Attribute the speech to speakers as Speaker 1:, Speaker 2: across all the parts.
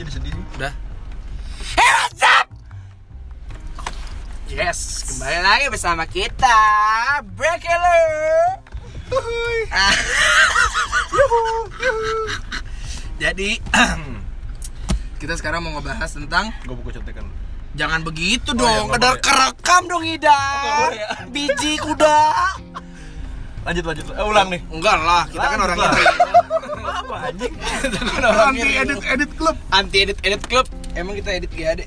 Speaker 1: Udah.
Speaker 2: Hey, what's up? Yes, kembali lagi bersama kita Break Alert.
Speaker 1: Uhuy.
Speaker 2: Ah,
Speaker 1: Yuhu, yuhu. Jadi kita sekarang mau ngebahas tentang
Speaker 3: Gue buku contekan
Speaker 1: jangan
Speaker 3: iya,
Speaker 1: begitu dong,
Speaker 3: nggak
Speaker 1: kedar
Speaker 3: boleh.
Speaker 2: Kerekam dong
Speaker 3: Oh,
Speaker 2: Ida.
Speaker 3: nggak boleh ya?
Speaker 2: Biji kuda.
Speaker 3: Lanjut lanjut, eh, ulang nih
Speaker 1: Enggak lah, kan kita kan
Speaker 3: Lanjut
Speaker 1: orang
Speaker 3: lah.
Speaker 1: ngeri.
Speaker 3: Apa anjing?
Speaker 1: Anti edit edit klub.
Speaker 2: Anti edit edit club. Emang kita edit gak ada?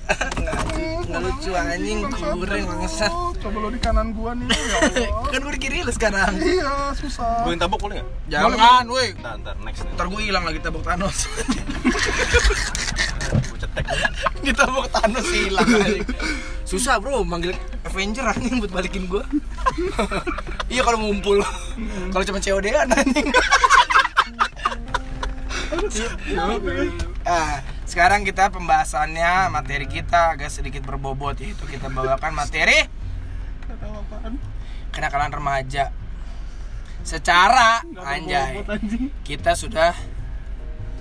Speaker 2: Nggak lucu anjing, kuburin bangsat.
Speaker 4: Oh, Coba lo di kanan gua nih ya Allah.
Speaker 1: Kan gue di kiri lu sekarang.
Speaker 4: Iya, susah.
Speaker 3: Gue tabok boleh gak?
Speaker 1: Jangan, woi.
Speaker 3: Ntar, ntar, next nih
Speaker 1: Ntar gue hilang lagi tabok Thanos.
Speaker 3: Gue cetek
Speaker 1: Ditabok Thanos hilang anjing. Susah, Bro, manggil Avenger anjing buat balikin gue. iya kalau ngumpul. kalau cuma COD-an anjing.
Speaker 4: Iya,
Speaker 1: Ah, sekarang kita pembahasannya materi kita agak sedikit berbobot yaitu kita bawakan materi
Speaker 4: Nggak tahu apaan.
Speaker 1: kenakalan remaja. Secara
Speaker 4: Nggak tahu
Speaker 1: anjay
Speaker 4: bobot, anjing.
Speaker 1: kita sudah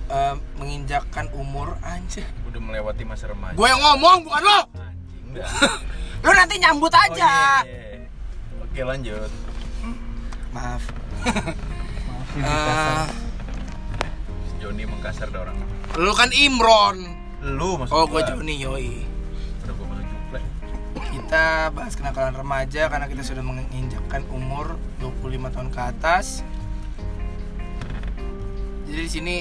Speaker 1: eh, menginjakkan umur anjay.
Speaker 3: Udah melewati masa remaja
Speaker 1: Gue yang ngomong bukan lo.
Speaker 3: Anjing dah
Speaker 1: Lo nanti nyambut
Speaker 3: Oh,
Speaker 1: aja.
Speaker 3: iya, iya. Oke lanjut
Speaker 1: Maaf.
Speaker 4: Maafin
Speaker 1: Eh,
Speaker 3: Joni mengkasar dah orang
Speaker 1: lu kan Imron.
Speaker 3: Lu maksud
Speaker 1: Oh, gue Joni Yoi.
Speaker 3: Udah gue masuk juplek
Speaker 1: Kita bahas kenakalan remaja karena kita sudah menginjakkan umur 25 tahun ke atas. Jadi di sini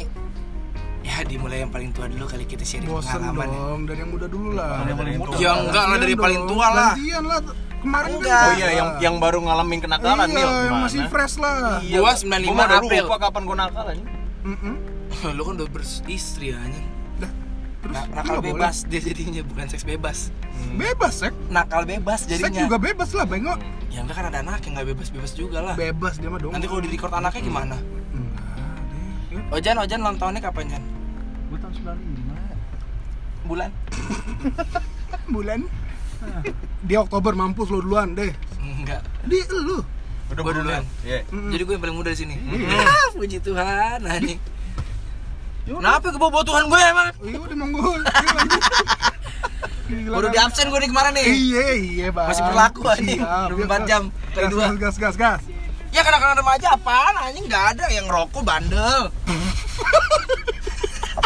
Speaker 1: ya dimulai yang paling tua dulu kali kita sharing
Speaker 4: Bosen
Speaker 1: pengalaman. ya.
Speaker 4: dong, dari yang muda dulu lah.
Speaker 3: Yang paling muda.
Speaker 1: Ya enggak lah dari
Speaker 4: Gantian
Speaker 1: paling
Speaker 4: dong,
Speaker 1: tua lah.
Speaker 4: Gantian lah. Kemarin kan
Speaker 1: Enggak.
Speaker 3: Oh
Speaker 4: gua-
Speaker 3: iya, yang yang baru ngalamin kenakalan
Speaker 4: Iya,
Speaker 3: nih
Speaker 4: yang masih fresh lah.
Speaker 1: Gua 95
Speaker 3: gua udah
Speaker 1: April.
Speaker 3: lupa kapan gue nakal anjing
Speaker 4: Mm-mm.
Speaker 1: lu kan udah beristri anjing.
Speaker 4: Dah. Terus
Speaker 1: Nah,
Speaker 4: lu
Speaker 1: nakal
Speaker 4: nggak
Speaker 1: bebas dia jadinya bukan seks bebas.
Speaker 4: boleh. Bebas, Sek.
Speaker 1: Nakal bebas
Speaker 4: Sek
Speaker 1: jadinya.
Speaker 4: juga bebas lah, bengok.
Speaker 1: Ya enggak kan ada anak yang nggak bebas-bebas juga lah.
Speaker 4: Bebas dia mah dong.
Speaker 1: Nanti kalau di record anaknya gimana?
Speaker 4: Enggak, deh. Ya,
Speaker 1: Ojan, Ojan ulang tahunnya kapan, Jan?
Speaker 4: Gua tahun 95.
Speaker 1: Bulan?
Speaker 4: Bulan. Dia Oktober mampus lo duluan deh.
Speaker 1: Enggak.
Speaker 4: Di lu.
Speaker 3: Udah gua
Speaker 1: Gua duluan.
Speaker 3: Iya
Speaker 4: Hmm.
Speaker 1: Jadi gue yang paling muda di sini. Ah, puji Tuhan, anjing. Kenapa kebobotuhan gue emang?
Speaker 4: Iya udah monggo. Gila,
Speaker 1: Baru
Speaker 4: kan?
Speaker 1: di absen gue nih kemarin nih.
Speaker 4: Iya iya bang.
Speaker 1: Masih berlaku, anjing.
Speaker 4: Siap.
Speaker 1: Udah empat jam, kali
Speaker 4: Gas
Speaker 1: dua.
Speaker 4: gas gas gas. gas.
Speaker 1: Ya kenakalan remaja apaan anjing enggak ada yang rokok bandel.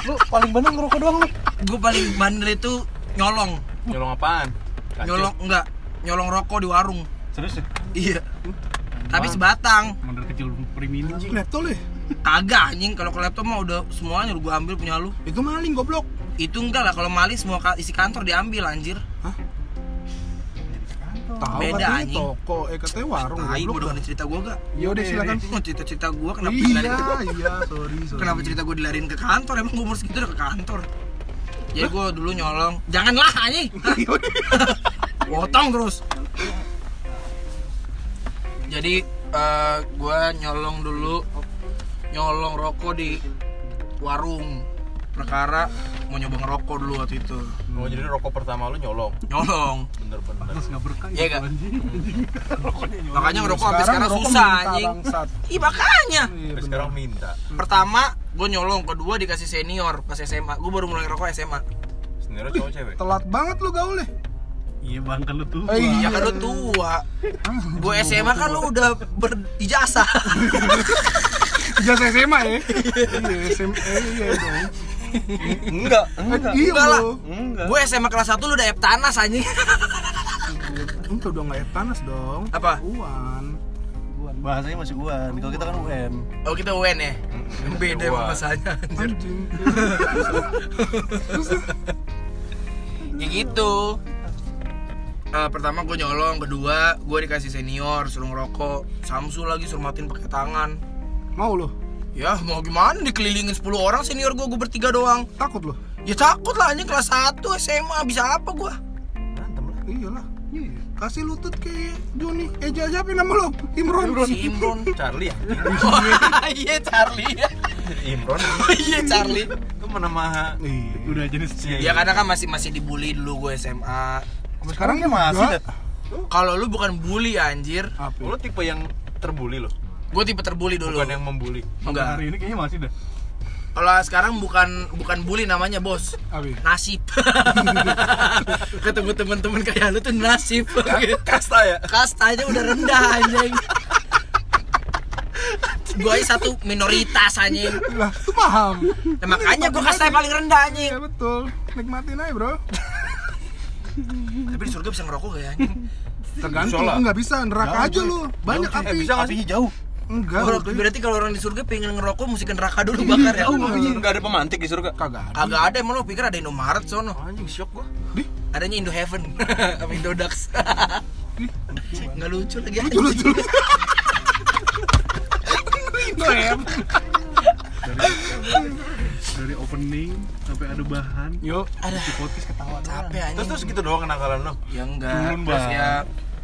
Speaker 3: Lu paling bener ngerokok doang lu
Speaker 1: Gue paling bandel itu nyolong.
Speaker 3: Nyolong apaan? Kancil.
Speaker 1: Nyolong enggak, nyolong rokok di warung.
Speaker 3: Serius ya?
Speaker 1: Iya. Tapi sebatang.
Speaker 3: Emang dari kecil primin
Speaker 4: Anjing laptop lu. ya?
Speaker 1: Kagak anjing kalau ke laptop mah udah semuanya gue ambil punya lu.
Speaker 4: Itu maling goblok.
Speaker 1: Itu enggak lah kalau maling semua ka- isi kantor diambil anjir.
Speaker 4: Tahu
Speaker 1: Beda,
Speaker 4: katanya
Speaker 1: anjing.
Speaker 4: toko, eh katanya warung
Speaker 1: Tai gue udah
Speaker 4: goblok.
Speaker 1: denger cerita gue gak?
Speaker 4: Ya udah silakan.
Speaker 1: Mau Oh, cerita-cerita gue kenapa
Speaker 4: Iya
Speaker 1: dilarin ke,
Speaker 4: iya sorry sorry.
Speaker 1: Kenapa cerita gue dilarin ke kantor? Emang gue umur segitu udah ke kantor Jadi gue dulu nyolong Janganlah anjing
Speaker 4: Iya,
Speaker 1: Potong terus Jadi eh, gue nyolong dulu Nyolong rokok di warung Perkara mau nyoba ngerokok dulu waktu itu
Speaker 3: Oh jadi rokok pertama lu nyolong
Speaker 1: Nyolong
Speaker 3: Bener-bener
Speaker 4: nggak berkah
Speaker 1: Iya gak?
Speaker 4: Rokoknya nyolong.
Speaker 1: Makanya ngerokok sampai sekarang
Speaker 4: rokok
Speaker 1: susah
Speaker 4: minta,
Speaker 1: anjing
Speaker 4: bangsat.
Speaker 1: Ih makanya
Speaker 4: Iya,
Speaker 3: Sampai
Speaker 4: bener.
Speaker 3: sekarang minta
Speaker 1: Pertama gue nyolong, kedua dikasih senior pas SMA Gue baru mulai ngerokok SMA
Speaker 3: Sendiri cowok cewek
Speaker 4: Telat banget lu gaulnya.
Speaker 5: Iya bang kan lu tuh.
Speaker 4: Eh,
Speaker 1: Ya kan lu tua Gue SMA kan lu udah berijazah
Speaker 4: Ijazah SMA ya? Iya, SMA iya dong.
Speaker 3: Enggak
Speaker 4: Eh, Iya
Speaker 1: Enggak lah.
Speaker 4: lo.
Speaker 3: Enggak
Speaker 1: Gue SMA kelas 1 lu udah Eptanas anjing
Speaker 4: Enggak udah nggak panas dong.
Speaker 1: Apa?
Speaker 4: Uan.
Speaker 5: Guan. Bahasanya masih guan. Kalau kita kan UN.
Speaker 1: Oh kita UN ya? Beda
Speaker 3: Kita
Speaker 1: emang
Speaker 3: UN.
Speaker 1: bahasanya anjir.
Speaker 4: Anjing.
Speaker 1: Ya gitu Eh, Pertama gue nyolong, kedua gue dikasih senior suruh ngerokok Samsul lagi suruh matiin pakai tangan
Speaker 4: Mau lo?
Speaker 1: Ya mau gimana dikelilingin 10 orang senior gue, gue bertiga doang
Speaker 4: Takut lo?
Speaker 1: Ya takut lah anjing kelas 1 SMA bisa apa gue
Speaker 3: Berantem lah
Speaker 4: Iyalah. Iya. Kasih lutut ke Joni. Eja aja apa nama lo? Imron. Iya.
Speaker 1: Si Imron
Speaker 3: Charlie ya? anjing
Speaker 1: Oh, Iya Charlie
Speaker 3: Jadi Imron
Speaker 1: Oh, Iya Charlie
Speaker 3: Itu menama
Speaker 4: Iya.
Speaker 5: Udah jenis C.
Speaker 1: Ya karena kan masih masih dibully dulu gue SMA
Speaker 4: Sekarang dia
Speaker 5: masih
Speaker 4: masih.
Speaker 5: dah.
Speaker 1: Kalau lu bukan bully anjir
Speaker 4: Apa?
Speaker 3: Lu tipe yang terbully loh
Speaker 1: Gue tipe terbully dulu
Speaker 6: ya?
Speaker 3: Bukan yang membuli
Speaker 5: Sampai
Speaker 1: Enggak
Speaker 5: Hari ini kayaknya masih dah.
Speaker 1: Kalau sekarang bukan bukan bully namanya bos,
Speaker 4: Abi.
Speaker 1: nasib. Ketemu teman-teman kayak lu tuh nasib. Gitu.
Speaker 2: Kasta ya?
Speaker 3: Eh,
Speaker 1: Kastanya udah rendah anjing. Gua ini satu minoritas anjing.
Speaker 4: Lah, lu paham.
Speaker 1: Nah, makanya gua kastanya paling rendah anjing.
Speaker 4: Ya betul. Nikmatin aja, Bro.
Speaker 1: Tapi di surga bisa ngerokok gak ya anjing?
Speaker 4: Tergantung
Speaker 3: Sholat.
Speaker 4: nggak bisa neraka aja lu. Banyak
Speaker 5: Jauh, cuy.
Speaker 4: api.
Speaker 5: Eh, bisa nggak sih jauh
Speaker 4: Enggak.
Speaker 1: Orang-
Speaker 4: Bro.
Speaker 1: Berarti kalau orang di surga pengen ngerokok mesti ke neraka dulu bakar ya.
Speaker 2: Enggak ada pemantik di surga.
Speaker 4: Kagak ada.
Speaker 1: Kagak ada emang lu pikir ada Indomaret sono.
Speaker 3: Anjing syok gua.
Speaker 1: Adanya Indo Heaven sama Indodax. Enggak lucu lagi. anjing.
Speaker 4: Dulu dulu. ya.
Speaker 5: dari opening sampai ada bahan
Speaker 1: Iya,
Speaker 4: Yuk.
Speaker 1: Ada
Speaker 5: podcast ketawa
Speaker 1: capek anjing.
Speaker 3: Terus terus gitu doang kenakalan lu.
Speaker 1: Ya enggak.
Speaker 5: Turun,
Speaker 1: Terus
Speaker 5: Bang.
Speaker 1: ya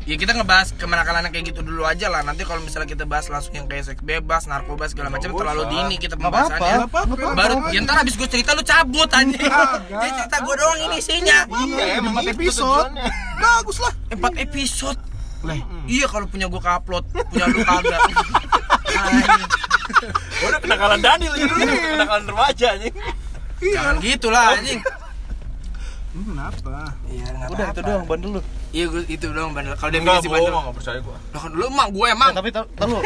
Speaker 1: ya kita ngebahas kemenakalan kayak gitu dulu aja lah. Nanti kalau misalnya kita bahas langsung yang kayak seks bebas, narkoba segala macam
Speaker 3: Nggak
Speaker 1: terlalu
Speaker 3: usah.
Speaker 1: dini kita
Speaker 5: nggak apa-apa
Speaker 1: pembahasannya.
Speaker 4: apa-apa.
Speaker 5: Nggak
Speaker 1: Baru
Speaker 4: Nggak
Speaker 1: ya ntar abis gue cerita lu cabut anjing. Jadi cerita gue doang ini isinya.
Speaker 3: Iya, emang
Speaker 4: Empat
Speaker 3: itu
Speaker 4: episode.
Speaker 3: tujuannya.
Speaker 4: Bagus lah.
Speaker 1: Empat episode.
Speaker 4: Lah,
Speaker 1: Iya kalau punya gue upload punya lu kagak. Anjing.
Speaker 2: Udah kenakalan Daniel gitu. Kenakalan remaja anjing.
Speaker 1: Jangan gitulah anjing.
Speaker 4: hmm, kenapa?
Speaker 1: Iya nggak
Speaker 5: udah itu doang bandel lu
Speaker 1: Iya gua- itu doang bandel. Kalau
Speaker 3: Enggak
Speaker 1: definisi bandel.
Speaker 3: bohong, enggak percaya gua.
Speaker 1: Lah kan lu emang gue emang.
Speaker 5: Eh, tapi tar tar lu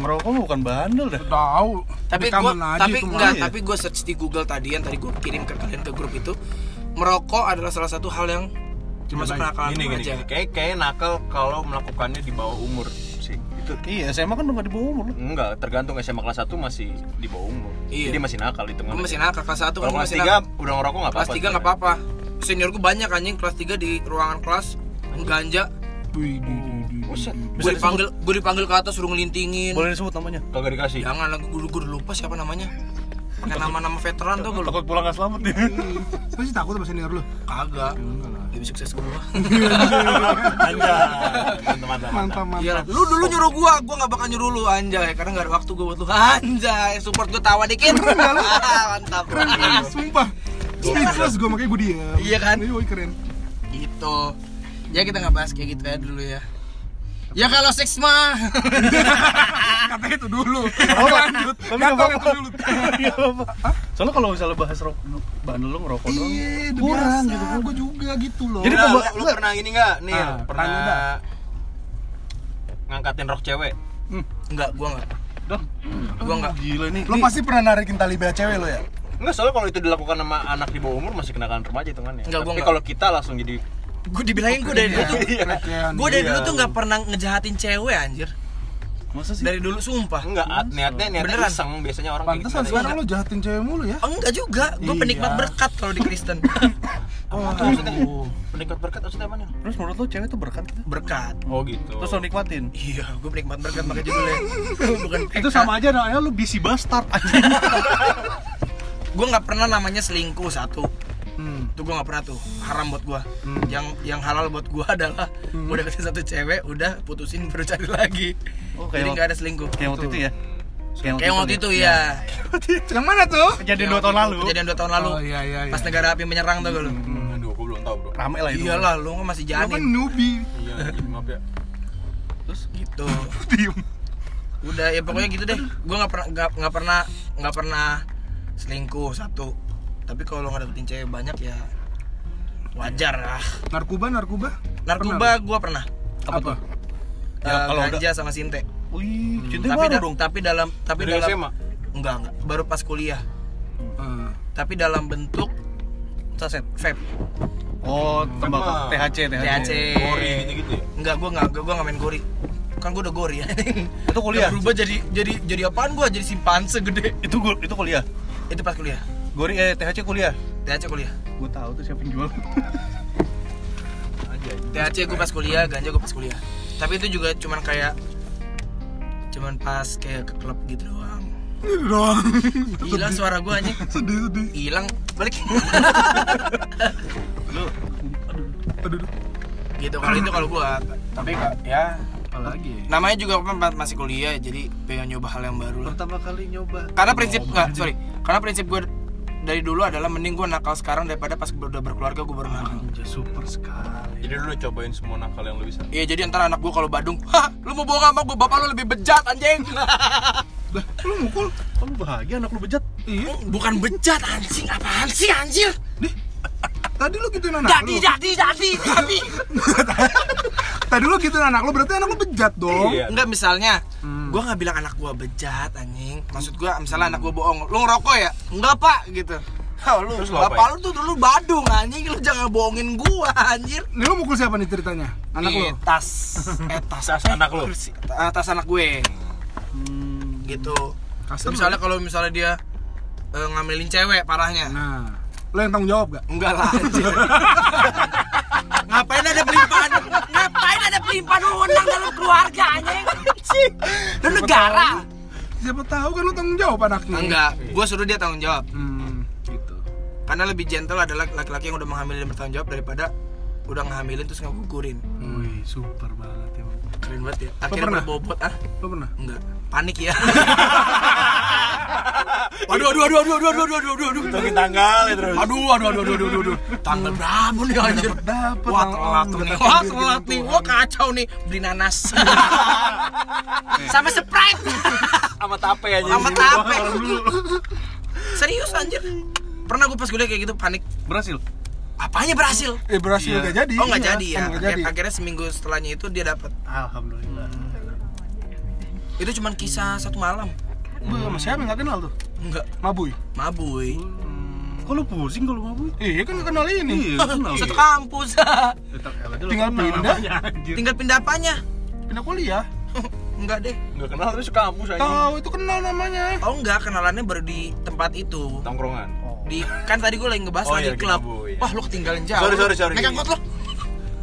Speaker 5: merokok mah bukan bandel dah
Speaker 4: Tahu.
Speaker 1: tapi
Speaker 4: Rekaman
Speaker 1: gua
Speaker 4: aja
Speaker 1: tapi
Speaker 4: itu mah.
Speaker 1: enggak
Speaker 5: iya.
Speaker 1: tapi gue search di Google tadi yang tadi gue kirim ke kalian ke grup itu merokok adalah salah satu hal yang
Speaker 4: Cuma
Speaker 1: masuk
Speaker 4: baik.
Speaker 1: penakalan
Speaker 3: Nah, Gini gini,
Speaker 1: aja
Speaker 3: gini. kayak kayak nakal kalau melakukannya di bawah umur sih. Itu
Speaker 5: iya SMA kan udah nggak di bawah umur lu
Speaker 3: enggak, tergantung SMA kelas 1 masih di bawah umur.
Speaker 1: Iya.
Speaker 3: Jadi masih nakal itu
Speaker 1: gue masih nakal kelas satu kan
Speaker 3: Kalau
Speaker 1: gua
Speaker 3: kelas
Speaker 1: masih
Speaker 3: 3 udah ngerokok enggak
Speaker 1: nakal. kelas
Speaker 3: apa-apa.
Speaker 1: tiga nggak apa-apa senior gue banyak anjing kelas 3 di ruangan kelas ganja
Speaker 4: Wih, di di di. di.
Speaker 1: gue dipanggil gue dipanggil ke atas suruh ngelintingin
Speaker 5: boleh disebut namanya
Speaker 3: Kagak dikasih.
Speaker 1: jangan lagi gue gue udah lupa siapa namanya pakai nama-nama veteran tuh gue
Speaker 5: takut pulang nggak selamat ya? nih
Speaker 4: Lu sih takut sama senior lu?
Speaker 1: Iya. kagak lebih sukses gue
Speaker 3: Teman-teman.
Speaker 4: Mantap, mantap.
Speaker 1: Iya, lu dulu nyuruh gua, gua nggak bakal nyuruh lu anjay, karena nggak ada waktu gua buat lu anjay. Support gua tawa dikit. Ah, Mantap.
Speaker 4: Sumpah. Speechless gue makanya gue diam.
Speaker 1: Iya kan?
Speaker 4: Ini woy, keren.
Speaker 1: gitu. Ya kita nggak bahas kayak gitu ya dulu ya. Ya kalau seks mah.
Speaker 4: Katanya itu dulu.
Speaker 5: lanjut tapi nggak
Speaker 4: Gatel itu
Speaker 5: apa-apa
Speaker 4: dulu.
Speaker 5: Nggak apa-apa. soalnya kalau misalnya bahas rokok bandel lu ngerokok doang
Speaker 4: Iya, udah
Speaker 5: kurang
Speaker 4: biasa.
Speaker 5: gitu
Speaker 4: Gue juga gitu loh.
Speaker 5: Jadi
Speaker 3: Nah,
Speaker 5: pemba-
Speaker 3: lu, lu pernah ini enggak? Nih,
Speaker 4: Ah,
Speaker 3: pernah
Speaker 4: tanya dah.
Speaker 3: ngangkatin rok cewek.
Speaker 1: Enggak, gua nggak.
Speaker 5: Dah.
Speaker 1: Gua nggak.
Speaker 5: gila nih
Speaker 4: Lo pasti pernah narikin tali bea cewek lo ya?
Speaker 3: Enggak, soalnya kalau itu dilakukan sama anak di bawah umur masih kenakan remaja hitungannya.
Speaker 1: Enggak, gua
Speaker 3: Tapi
Speaker 1: enggak.
Speaker 3: kalau kita langsung jadi
Speaker 1: Gua dibilangin gua
Speaker 4: Iya.
Speaker 1: dari dulu tuh.
Speaker 4: Keren.
Speaker 1: Gua dari dulu tuh nggak pernah ngejahatin cewek anjir.
Speaker 5: masa sih
Speaker 1: Dari dulu sumpah.
Speaker 3: enggak at- niatnya niatnya
Speaker 1: Beneran.
Speaker 3: iseng biasanya orang kayak
Speaker 4: Pantesan
Speaker 3: gitu.
Speaker 4: sekarang lo jahatin cewek mulu ya?
Speaker 1: Enggak juga, gua
Speaker 4: Iya.
Speaker 1: penikmat berkat kalau di Kristen.
Speaker 3: Oh, maksudnya peningkat berkat maksudnya apa nih?
Speaker 5: terus menurut lu cewek tuh berkat gitu
Speaker 1: Berkat.
Speaker 3: Oh gitu.
Speaker 5: terus lo nikmatin
Speaker 1: Iya, gua penikmat berkat makanya judulnya. Bukan
Speaker 4: Iya.
Speaker 5: itu sama aja namanya lu bisi bastard anjing
Speaker 1: Gua nggak pernah namanya selingkuh satu.
Speaker 4: Hmm.
Speaker 1: itu gue nggak pernah tuh haram buat gue yang yang halal buat gue adalah udah deketin satu cewek udah putusin baru cari lagi
Speaker 5: Oh,
Speaker 1: jadi
Speaker 5: kayak
Speaker 1: nggak ada selingkuh
Speaker 5: kayak waktu itu ya
Speaker 1: kayak
Speaker 5: gitu
Speaker 1: waktu itu
Speaker 5: iya.
Speaker 1: ya
Speaker 4: Yang mana tuh?
Speaker 5: kejadian
Speaker 1: Yang
Speaker 5: 2 tahun
Speaker 1: waktu
Speaker 5: lalu
Speaker 1: itu, kejadian dua tahun lalu
Speaker 4: Iya. Oh, iya, iya, iya.
Speaker 1: pas negara api menyerang tuh lu
Speaker 3: Hmm, Aduh, gua belum tahu, Bro.
Speaker 5: rame lah itu
Speaker 1: iyalah lu kan masih
Speaker 4: Lo kan
Speaker 1: janin
Speaker 4: newbie.
Speaker 3: Iya, iya, maaf ya.
Speaker 1: gitu
Speaker 4: Diem.
Speaker 1: udah ya pokoknya gitu deh gue nggak pernah nggak nggak pernah nggak pernah selingkuh satu tapi kalau nggak deketin cewek banyak ya wajar lah
Speaker 4: Narkoba, narkoba.
Speaker 1: narkoba gue pernah
Speaker 5: apa tuh Ya,
Speaker 1: Eh,
Speaker 5: kalau udah-
Speaker 1: ganja sama sinte
Speaker 5: wih
Speaker 1: Hmm,
Speaker 5: cinta
Speaker 1: tapi
Speaker 5: baru
Speaker 1: da-
Speaker 5: dong
Speaker 1: tapi dalam tapi
Speaker 3: Dari
Speaker 1: dalam
Speaker 3: SMA?
Speaker 1: enggak enggak baru pas kuliah
Speaker 4: Eh,
Speaker 5: Hmm.
Speaker 1: tapi dalam bentuk saset vape
Speaker 5: oh tembakau
Speaker 3: Emang.
Speaker 5: THC
Speaker 1: THC
Speaker 3: Gori gitu-gitu ya.
Speaker 1: enggak gua enggak gua enggak main gori kan gua udah gori ya
Speaker 5: itu kuliah
Speaker 1: berubah jadi jadi jadi apaan gua jadi simpanse gede
Speaker 5: itu gu- itu kuliah
Speaker 1: itu pas kuliah
Speaker 5: gori eh THC kuliah
Speaker 1: THC kuliah
Speaker 5: gue tahu tuh siapa yang jual
Speaker 3: Anjay.
Speaker 1: THC gua pas kuliah ganja gua pas kuliah tapi itu juga cuman kayak cuman pas kayak ke klub gitu doang
Speaker 4: Ini doang.
Speaker 1: hilang
Speaker 7: gitu?
Speaker 1: suara gua anjing
Speaker 4: Sedih, sedih.
Speaker 1: hilang balik
Speaker 5: lu
Speaker 4: Aduh, aduh.
Speaker 1: gitu kalau itu kalau gua tapi ya
Speaker 4: Apalagi ya?
Speaker 1: namanya juga kan pas- masih kuliah jadi pengen nyoba hal yang baru lah
Speaker 5: pertama kali nyoba
Speaker 1: karena prinsip
Speaker 7: Oh,
Speaker 1: nggak sorry karena prinsip gue dari dulu adalah mending gue nakal sekarang daripada pas gue udah berkeluarga gue baru nakal
Speaker 7: Ah.
Speaker 5: Anjay, super sekali
Speaker 3: Jadi dulu cobain semua nakal yang lu bisa.
Speaker 1: Iya jadi ntar anak gue kalau Badung Hah lu mau bohong sama gue bapak lu lebih bejat anjing
Speaker 4: Lah, lu mukul?
Speaker 5: Kok lu bahagia anak lu bejat?
Speaker 4: Iya.
Speaker 7: Bukan bejat anjing, apaan sih anjir?
Speaker 4: Tadi lu gituin anak
Speaker 7: Jadi,
Speaker 4: lu.
Speaker 7: jadi, jadi, jadi.
Speaker 4: Tadi lu gituin anak lu berarti anak lu bejat dong.
Speaker 6: Iya.
Speaker 1: Enggak misalnya
Speaker 4: Hmm.
Speaker 1: gua nggak bilang anak gua bejat anjing. Maksud gua misalnya anak gua bohong, lu ngerokok ya? Enggak, Pak, gitu. Oh, lu,
Speaker 6: Terus lu ya?
Speaker 1: bapak
Speaker 6: apain?
Speaker 1: lu tuh dulu badung anjing, lu jangan bohongin gua anjir.
Speaker 4: Ini lu mukul siapa nih ceritanya? Anak
Speaker 1: Di
Speaker 4: lu.
Speaker 1: tas, eh tas,
Speaker 6: Tas anak lu.
Speaker 1: kursi, eh, tas anak gue, gitu.
Speaker 4: Custom.
Speaker 1: misalnya kalau misalnya dia eh, ngamelin cewek parahnya,
Speaker 4: Nah, lu yang tanggung jawab gak?
Speaker 1: Enggak lah anjir. Ngapain ada pelimpahan? Ngapain ada pelimpahan wewenang dalam keluarga anjing? Dan negara.
Speaker 4: Siapa tahu kan lu tanggung jawab anaknya.
Speaker 1: Enggak, gua suruh dia tanggung jawab.
Speaker 4: Hmm, gitu.
Speaker 1: Karena lebih gentle adalah laki-laki yang udah menghamilin dan bertanggung jawab daripada udah ngehamilin terus ngegugurin.
Speaker 5: Wih, super banget ya. Bang.
Speaker 1: Keren banget ya. Akhirnya
Speaker 4: pernah?
Speaker 1: berbobot ah.
Speaker 4: Lu pernah?
Speaker 1: Enggak, panik ya. Waduh, waduh, waduh, waduh, waduh, waduh, waduh, waduh, waduh.
Speaker 6: Tapi tanggal ya terus.
Speaker 1: Aduh, aduh, aduh, aduh, aduh, aduh. Tanggal berapa nih anjir?
Speaker 4: Dapat
Speaker 1: Wah telat nih, wah telat nih, wah kacau nih beli nanas sama sprite
Speaker 6: Sama tape aja.
Speaker 1: sama
Speaker 5: Iya,
Speaker 1: tape. Serius anjir. Pernah gue pas kuliah kayak gitu panik.
Speaker 5: Berhasil?
Speaker 1: Apanya berhasil?
Speaker 4: Eh berhasil
Speaker 5: Iya.
Speaker 4: gak jadi.
Speaker 1: Oh nggak
Speaker 4: Iya,
Speaker 1: jadi ya.
Speaker 4: emang nggak
Speaker 1: Akhir-
Speaker 4: jadi.
Speaker 1: Akhirnya seminggu setelahnya itu dia dapat.
Speaker 5: Alhamdulillah.
Speaker 1: Itu cuman kisah satu malam.
Speaker 4: Gua sama siapa yang gak kenal tuh?
Speaker 1: Enggak,
Speaker 4: Mabuy.
Speaker 1: mabui.
Speaker 5: Kok lu pusing kalau mabuk?
Speaker 4: Iya kan nggak kenal ini.
Speaker 1: Satu kampus.
Speaker 5: Iya,
Speaker 4: Tinggal pindah.
Speaker 5: anjir.
Speaker 1: Tinggal pindah apanya?
Speaker 4: Pindah kuliah.
Speaker 1: Enggak deh.
Speaker 6: Enggak kenal terus ke kampus aja.
Speaker 4: Tahu itu kenal namanya.
Speaker 1: Oh enggak, kenalannya baru di tempat itu.
Speaker 6: Tongkrongan.
Speaker 1: Di kan tadi gue lagi ngebahas
Speaker 6: Oh,
Speaker 1: lagi
Speaker 6: iya, di
Speaker 1: klub.
Speaker 6: mabui, ya.
Speaker 1: Wah, lu ketinggalan jauh.
Speaker 6: Sorry,
Speaker 1: lu.
Speaker 6: sorry, sorry.
Speaker 1: Naik angkot lu.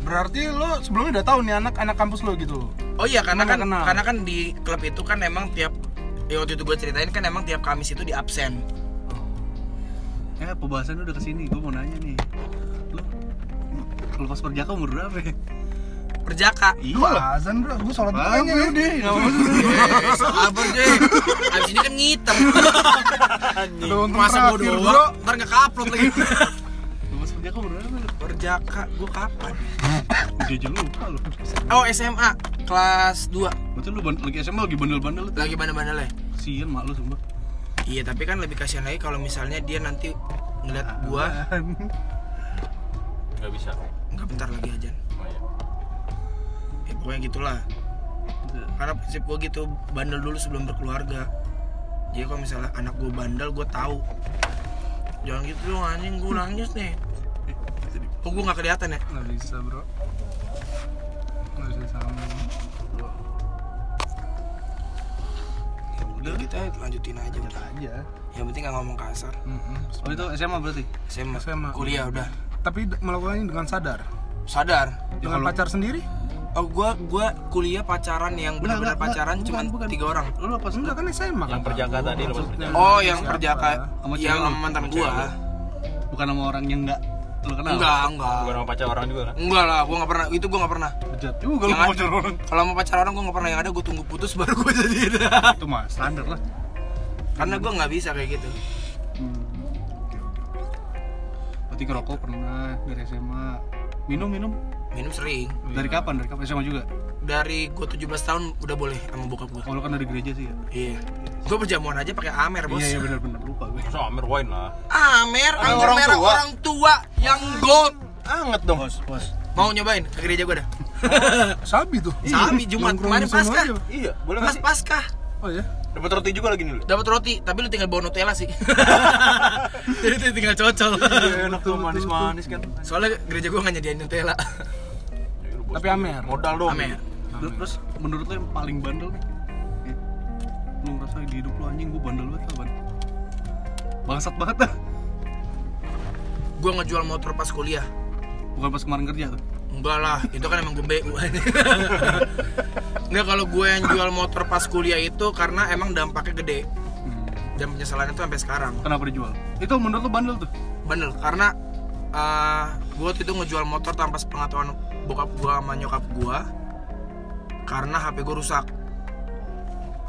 Speaker 4: Berarti lo sebelumnya udah tahu nih anak anak kampus lo gitu.
Speaker 1: Oh iya karena
Speaker 4: Emang
Speaker 1: kan
Speaker 4: nggak kenal?
Speaker 1: karena kan di klub itu kan emang tiap ya waktu itu gue ceritain kan emang tiap Kamis itu di absen.
Speaker 5: Eh, pembahasan udah kesini. Gue mau nanya nih. Lu kalau pas perjaka umur berapa ya?
Speaker 1: Perjaka.
Speaker 5: Iya lah.
Speaker 4: Gua azan bro, gua sholat dulu
Speaker 5: Bang, ya
Speaker 1: Iya,
Speaker 4: kayaknya.
Speaker 5: udah, nggak apa-apa.
Speaker 1: Eh, sabar deh. Abis ini kan ngitem.
Speaker 4: Udah untung
Speaker 1: Masa gue
Speaker 4: terakhir, Iya, bro.
Speaker 1: Iya. doang, ntar nggak upload lagi.
Speaker 5: Lu Pas perjaka umur berapa lu?
Speaker 1: Perjaka, gue kapan?
Speaker 5: Udah aja lupa lu.
Speaker 1: Oh SMA, kelas 2
Speaker 5: Berarti lu ban- lagi SMA lagi bandel-bandel lu.
Speaker 1: lagi bandel-bandelnya.
Speaker 5: Kasian mak lu sumpah.
Speaker 1: Iya tapi kan lebih kasihan lagi kalau misalnya dia nanti ngeliat gue
Speaker 6: Enggak bisa.
Speaker 1: nggak bentar lagi aja.
Speaker 6: Oh, iya.
Speaker 1: Ya pokoknya gitulah. karena prinsip gue gitu bandel dulu sebelum berkeluarga jadi kalau misalnya anak gue bandel gue tahu jangan gitu dong anjing gue nangis nih oh gue nggak kelihatan ya
Speaker 4: Nggak bisa bro. Nggak bisa sama.
Speaker 1: udah kita lanjutin aja udah
Speaker 4: Aja.
Speaker 1: yang penting nggak ngomong kasar
Speaker 4: Mm-mm.
Speaker 5: Oh itu SMA berarti?
Speaker 1: SMA,
Speaker 4: SMA.
Speaker 1: kuliah udah
Speaker 4: Tapi d- melakukannya dengan sadar.
Speaker 1: sadar
Speaker 4: Dengan
Speaker 5: kalau-
Speaker 4: pacar sendiri?
Speaker 1: oh gue gue kuliah pacaran yang
Speaker 5: Enggak,
Speaker 1: benar-benar
Speaker 5: enggak,
Speaker 1: pacaran
Speaker 5: enggak,
Speaker 1: cuma
Speaker 5: bukan, bukan.
Speaker 1: tiga orang
Speaker 5: Lu apa
Speaker 4: Enggak kan SMA
Speaker 6: Yang
Speaker 4: kata
Speaker 6: perjaka
Speaker 4: gua,
Speaker 6: tadi, lepas
Speaker 4: maksudnya.
Speaker 1: oh yang
Speaker 4: Siapa?
Speaker 1: perjaka
Speaker 5: Sama cewek
Speaker 1: yang
Speaker 5: lu?
Speaker 1: sama mantan
Speaker 6: Sama
Speaker 1: gue
Speaker 6: cewek lu?
Speaker 5: Bukan sama orang yang enggak lu kenal?
Speaker 1: enggak enggak
Speaker 6: Bukan sama pacar orang juga kan?
Speaker 1: enggak lah gue nggak pernah itu gue nggak pernah
Speaker 5: Bejat juga lu
Speaker 1: Jangan.
Speaker 5: pacar orang.
Speaker 1: kalau mau pacar orang gue nggak pernah yang ada gue tunggu putus baru gue jadi
Speaker 5: Itu mah standar lah.
Speaker 1: karena gue nggak bisa kayak gitu
Speaker 5: Berarti ngerokok pernah dari SMA. Minum minum
Speaker 1: minum sering
Speaker 5: dari kapan? Dari kapan SMA juga?
Speaker 1: dari gue 17 tahun udah boleh sama bokap gue
Speaker 5: Kalau kan dari gereja sih ya.
Speaker 1: iya gue berjamuan aja pakai amer bos
Speaker 5: Iya iya benar-benar lupa gue.
Speaker 6: Masa Amir wine lah.
Speaker 1: amer
Speaker 6: Orang-
Speaker 1: anggur
Speaker 6: orang
Speaker 1: merah
Speaker 6: tua.
Speaker 1: orang tua yang gold
Speaker 6: Anget dong.
Speaker 5: Bos, bos.
Speaker 1: mau nyobain ke gereja gue dah
Speaker 4: Sabi tuh.
Speaker 1: Sabi, Jumat.
Speaker 4: Iya. Nongkrong
Speaker 1: Kemarin
Speaker 4: di sana
Speaker 1: Paskah.
Speaker 4: aja.
Speaker 6: Iya, boleh
Speaker 1: pas
Speaker 6: enggak?
Speaker 1: paskah
Speaker 4: Oh ya.
Speaker 6: Dapat roti juga lagi nih lu.
Speaker 1: dapat roti tapi lu tinggal bawa Nutella sih jadi itu tinggal cocol
Speaker 6: Iya, enak tuh manis-manis kan.
Speaker 1: soalnya gereja gue nggak nyediain Nutella
Speaker 6: Ya, lu bos.
Speaker 4: Tapi Amer.
Speaker 6: Modal dong.
Speaker 1: amer
Speaker 5: Terus, terus menurut lo yang paling bandel nih? Eh, Lu ngerasa di hidup lu anjing gue bandel banget lah, ban. Bangsat banget lah.
Speaker 1: gue ngejual motor pas kuliah
Speaker 5: Bukan pas kemarin kerja tuh.
Speaker 1: Enggak lah, itu kan emang gue BU Enggak kalau gue yang jual motor pas kuliah itu karena emang dampaknya gede
Speaker 5: Hmm.
Speaker 1: Dan penyesalannya tuh sampai sekarang
Speaker 5: Kenapa dijual? Itu menurut lo bandel tuh?
Speaker 1: Bener, karena eh, gue waktu itu ngejual motor tanpa sepengetahuan bokap gue sama nyokap gue Karena HP gue rusak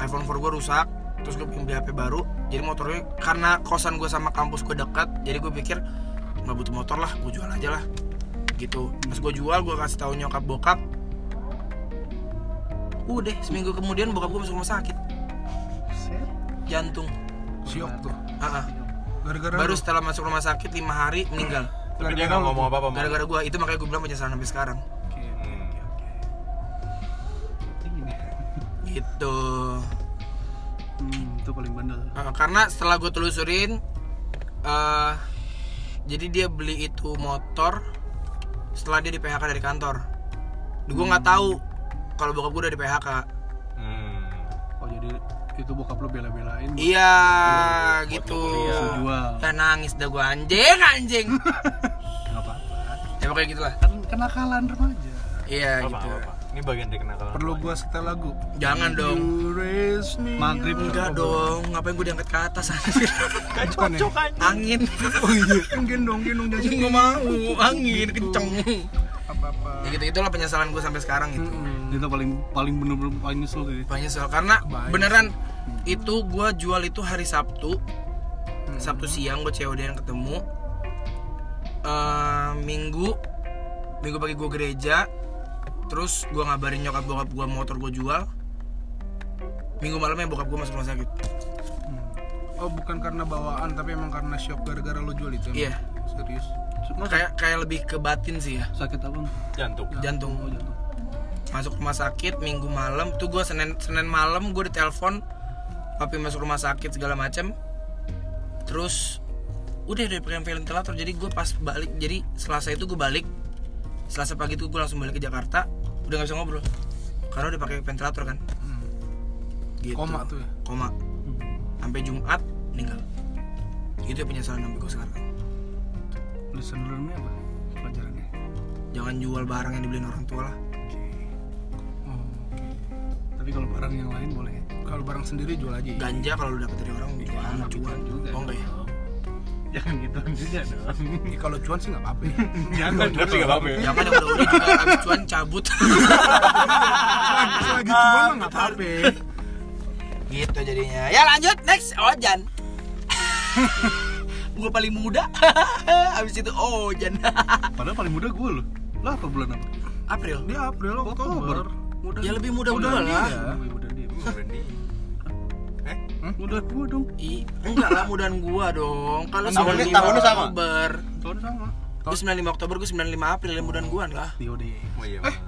Speaker 1: iPhone 4 gue rusak Terus gue pengen beli HP baru Jadi motornya, karena kosan gue sama kampus gue dekat Jadi gue pikir, nggak butuh motor lah, gue jual aja lah Gitu, pas gue jual, gue kasih tahu nyokap bokap Udah, seminggu kemudian bokap gue masuk rumah sakit jantung
Speaker 4: Siok tuh.
Speaker 1: Ah, ah.
Speaker 4: Gara-gara
Speaker 1: baru
Speaker 4: lu-
Speaker 1: setelah masuk rumah sakit lima hari meninggal
Speaker 3: Tapi dia nggak ngomong apa-apa, Mang.
Speaker 1: gara-gara gua itu makanya gua bilang penyesalan sampai sekarang
Speaker 5: Oke, ya.
Speaker 3: Hmm.
Speaker 5: ini.
Speaker 1: gitu
Speaker 5: Hmm, itu paling bandel.
Speaker 1: Eh, karena setelah gue telusurin eh jadi dia beli itu motor setelah dia di PHK dari kantor
Speaker 5: Hmm.
Speaker 1: gue nggak tahu kalau bokap gue udah di PHK
Speaker 3: Hmm.
Speaker 5: Oh jadi itu bokap lo bela-belain buat
Speaker 1: iya gitu
Speaker 5: lo jual.
Speaker 1: dan nangis dah gue anjing anjing
Speaker 5: Enggak apa-apa.
Speaker 1: ya pokoknya gitulah
Speaker 5: Kan kenakalan remaja.
Speaker 1: iya
Speaker 3: Apa,
Speaker 1: gitu
Speaker 3: apa, apa. Ini bagian dari kenakalan.
Speaker 4: perlu gua setel lagu.
Speaker 1: jangan dong
Speaker 5: Iya.
Speaker 4: You raise me
Speaker 5: Maghrib
Speaker 1: enggak dong ngapain gue diangkat ke atas anjir
Speaker 3: Kan
Speaker 4: Bukan ya?
Speaker 3: cocok aja.
Speaker 1: angin
Speaker 4: gendong gendong jadi
Speaker 1: nggak mau angin kenceng
Speaker 4: apa apa.
Speaker 1: ya gitu itulah penyesalan gue sampai sekarang gitu
Speaker 5: Itu paling paling bener-bener paling nyesel sih.
Speaker 1: banyak soal karena beneran itu gue jual itu hari Sabtu Sabtu siang gue COD yang ketemu Eh, Minggu Minggu pagi gue gereja terus gue ngabarin nyokap bokap gue motor gue jual Minggu malamnya bokap gue masuk rumah sakit
Speaker 4: Oh bukan karena bawaan tapi emang karena shock gara-gara lo jual itu. emang?
Speaker 1: iya
Speaker 4: Serius.
Speaker 5: Cuma
Speaker 1: kayak kayak lebih ke batin sih ya
Speaker 5: sakit apa? Bang?
Speaker 3: Jantung.
Speaker 1: jantung
Speaker 5: Oh jantung.
Speaker 1: masuk rumah sakit minggu malam tuh gue senin senin malam gue ditelepon papi masuk rumah sakit segala macem terus udah udah pakai ventilator jadi gue pas balik jadi selasa itu gue balik selasa pagi itu gue langsung balik ke Jakarta udah nggak bisa ngobrol karena udah pakai ventilator kan gitu.
Speaker 4: Hmm. Koma tuh ya?
Speaker 1: koma sampai Jumat meninggal itu ya penyesalan sampai gue sekarang
Speaker 5: Lesson learn-nya apa? Pelajarannya.
Speaker 1: jangan jual barang yang dibeliin orang tua lah
Speaker 4: Oh, oke.
Speaker 5: Tapi kalau barang yang lain boleh.
Speaker 4: Kalau barang sendiri jual aja. ya?
Speaker 1: ganja kalau lu dapet dari orang
Speaker 4: Iya,
Speaker 1: gimana cuan
Speaker 5: juga.
Speaker 1: oh enggak ya
Speaker 5: Jangan gitu juga dong.
Speaker 4: Ya, kalau cuan sih nggak apa-apa. ya.
Speaker 5: Jangan.
Speaker 3: Tapi nggak apa-apa ya.
Speaker 1: jangan yang udah-udah juga abis cuan cabut
Speaker 4: Lagi cuan mah nggak apa-apa.
Speaker 1: gitu jadinya ya lanjut next Ojan gue paling muda abis itu Ojan
Speaker 5: Padahal paling muda gue loh. Lah apa bulan apa?
Speaker 1: April
Speaker 4: Dia April Oktober.
Speaker 5: Muda.
Speaker 1: ya lebih muda udah
Speaker 5: muda
Speaker 1: lah
Speaker 5: Lebih muda dia. Hmm?
Speaker 3: Berani.
Speaker 5: Muda gue dong.
Speaker 1: Ih, enggak lah mudahan gua dong kalau
Speaker 3: Tahunnya-
Speaker 1: 95
Speaker 3: tahunnya sama?
Speaker 1: Oktober
Speaker 5: Tahun sama.
Speaker 1: gue 95 Oktober gue 95 April yang mudahan gua lah
Speaker 5: Dio deh.
Speaker 3: Oh iya. bener.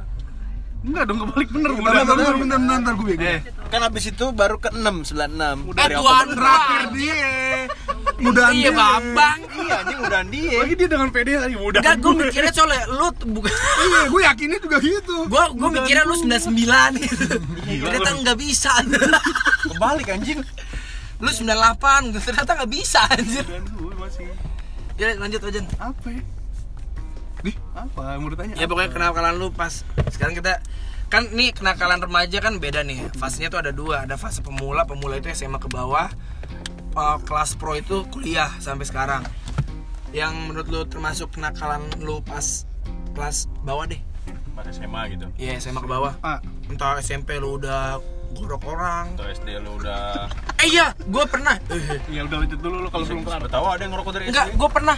Speaker 5: Enggak dong kebalik bener.
Speaker 4: Bentar,
Speaker 5: Muda.
Speaker 4: bentar, bentar, bentar, bentar, gue bego.
Speaker 6: Kan abis itu baru ke 6, 96
Speaker 1: eh tuan
Speaker 4: Terakhir dia. Mudahan
Speaker 1: iya
Speaker 4: dia.
Speaker 1: babang
Speaker 6: Iya anjing udah dia
Speaker 4: Oh,
Speaker 5: Lagi dia dengan PD tadi muda.
Speaker 1: enggak gue mikirnya soalnya lu t- bukan
Speaker 4: Iya, gue yakinnya juga gitu.
Speaker 1: gue gue mikirnya lu 99 gitu ternyata nggak bisa
Speaker 6: Kebalik anjing
Speaker 1: lu 98 ternyata nggak bisa anjir
Speaker 5: Dan gue masih
Speaker 1: ya lanjut Ojan
Speaker 5: apa ya?
Speaker 4: Dih.
Speaker 5: apa? Mau ditanya?
Speaker 1: ya pokoknya kenakalan lu pas sekarang kita kan nih kenakalan remaja kan beda nih fasenya tuh ada dua ada fase pemula pemula itu SMA ke bawah eh, kelas pro itu kuliah sampai sekarang yang menurut lu termasuk kenakalan lu pas kelas bawah deh
Speaker 3: Pas SMA gitu.
Speaker 1: Iya SMA ke bawah
Speaker 5: Ah,
Speaker 1: entah SMP lu udah gorok orang
Speaker 3: Atau SD lu udah
Speaker 1: eh iya gue pernah Eh,
Speaker 5: ya udah lanjut dulu lo kalau belum
Speaker 6: Iya.
Speaker 5: kelar.
Speaker 3: Siapa tahu ada yang ngerokok dari
Speaker 1: enggak
Speaker 3: SD.
Speaker 1: gue pernah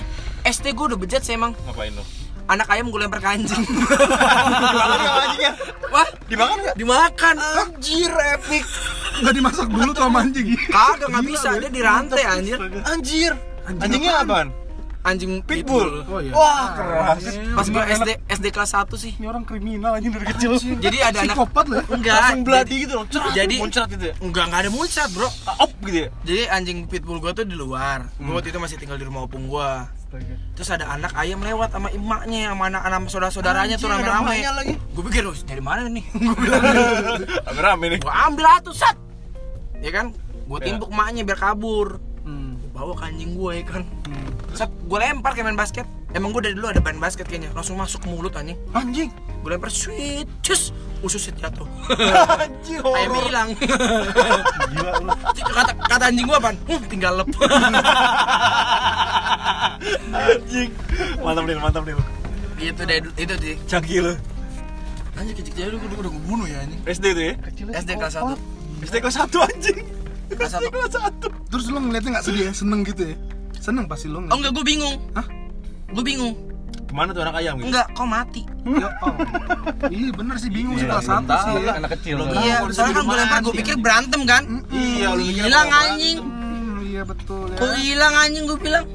Speaker 1: SD gue udah bejat sih emang
Speaker 3: Ngapain lu?
Speaker 1: anak ayam gue lempar ke anjing
Speaker 3: Dimakan nggak anjingnya?
Speaker 1: wah
Speaker 3: Dimakan nggak?
Speaker 1: dimakan
Speaker 6: Anjir epic
Speaker 4: Gak dimasak dulu tuh sama anjing.
Speaker 1: kagak nggak bisa dia dirantai anjir
Speaker 6: Anjir Anjingnya apaan?
Speaker 1: anjing
Speaker 6: Pitbull
Speaker 4: Oh iya.
Speaker 6: Wah keras
Speaker 1: pas gue SD SD kelas 1 sih
Speaker 5: Ini orang kriminal anjing dari kecil.
Speaker 1: jadi ada anak
Speaker 4: Psikopat loh.
Speaker 1: enggak
Speaker 6: ya? Langsung
Speaker 1: jadi,
Speaker 6: bloody gitu loh Cerat,
Speaker 1: Jadi-
Speaker 6: Muncrat gitu ya
Speaker 1: enggak enggak ada muncrat bro
Speaker 6: Up gitu ya
Speaker 1: jadi anjing pitbull gue tuh di luar gue
Speaker 6: Hmm.
Speaker 1: waktu itu masih tinggal di rumah opung gue terus ada anak ayam lewat sama emaknya sama anak anak saudara saudaranya tuh
Speaker 6: Anjing, ada
Speaker 1: rame-rame
Speaker 6: emaknya lagi.
Speaker 1: gue pikir "Wih, dari mana nih
Speaker 3: Agak rame nih.
Speaker 1: gue ambil atuh set ya kan gue timbuk emaknya biar kabur
Speaker 5: Hmm.
Speaker 1: Gua bawa ke anjing gue ya kan
Speaker 6: Hmm.
Speaker 1: set gue lempar kayak main basket emang gue dari dulu ada main basket kayaknya langsung masuk ke mulut anjing
Speaker 6: Anjing
Speaker 1: gue lempar sweet cus ususnya jatuh
Speaker 6: Anjir
Speaker 1: ayam
Speaker 6: horor
Speaker 1: hilang kata kata anjing gua apaan "Hm, tinggal lep
Speaker 6: Anjing Mantap Dil, mantap Dil
Speaker 1: gitu deh itu sih
Speaker 6: Canggih lu
Speaker 1: anjing kecil kecil dulu udah gue bunuh ya anjing
Speaker 6: SD itu ya?
Speaker 1: SD kelas satu
Speaker 6: SD kelas 1 anjing
Speaker 1: kelas satu
Speaker 6: Kelas 1
Speaker 4: Terus lo ngeliatnya nggak sedih ya? Seneng gitu ya? Seneng pasti
Speaker 1: oh
Speaker 4: lo ngeliat.
Speaker 1: enggak gue bingung
Speaker 4: Hah?
Speaker 1: gue bingung
Speaker 6: Gimana tuh anak ayam gitu?
Speaker 1: Enggak, kok mati?
Speaker 4: Ya, oh. Iya bener sih bingung sih
Speaker 3: Iya,
Speaker 4: kelas
Speaker 3: belum
Speaker 4: satu sih
Speaker 3: tahu
Speaker 4: ya.
Speaker 3: kan, anak kecil
Speaker 6: Belum
Speaker 3: kan.
Speaker 6: tahu.
Speaker 1: Iya,
Speaker 6: kalau
Speaker 1: soalnya kan
Speaker 6: disuruh
Speaker 1: gue lempar, gue
Speaker 6: mandi,
Speaker 1: pikir berantem kan
Speaker 6: Iya, lu mikir
Speaker 1: Hilang
Speaker 6: apa-apa.
Speaker 1: anjing
Speaker 4: Hmm, Iya betul ya.
Speaker 1: Kok hilang anjing gue bilang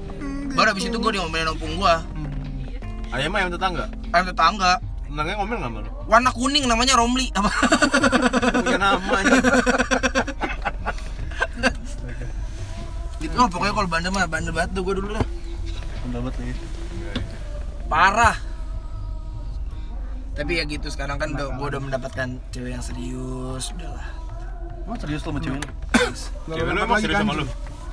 Speaker 1: Baru abis itu gue diomelin opung gue
Speaker 6: Ayam ayam tetangga.
Speaker 1: Ayam tetangga
Speaker 6: Tetangganya ngomel enggak sama lu?
Speaker 1: Warna kuning namanya Romli apa?
Speaker 6: Punya nama aja.
Speaker 1: gitu. Oh, pokoknya kalau bandel mah bandel banget tuh gue dulu lah
Speaker 5: pendapat nih
Speaker 1: Parah Tapi ya gitu sekarang kan udah, gue udah mendapatkan cewek yang serius Udahlah
Speaker 5: emang serius lo sama cewek lo
Speaker 4: Gua
Speaker 6: Cewek lu
Speaker 4: lempar
Speaker 6: emang
Speaker 4: lagi
Speaker 6: serius
Speaker 4: kan.
Speaker 6: sama lu?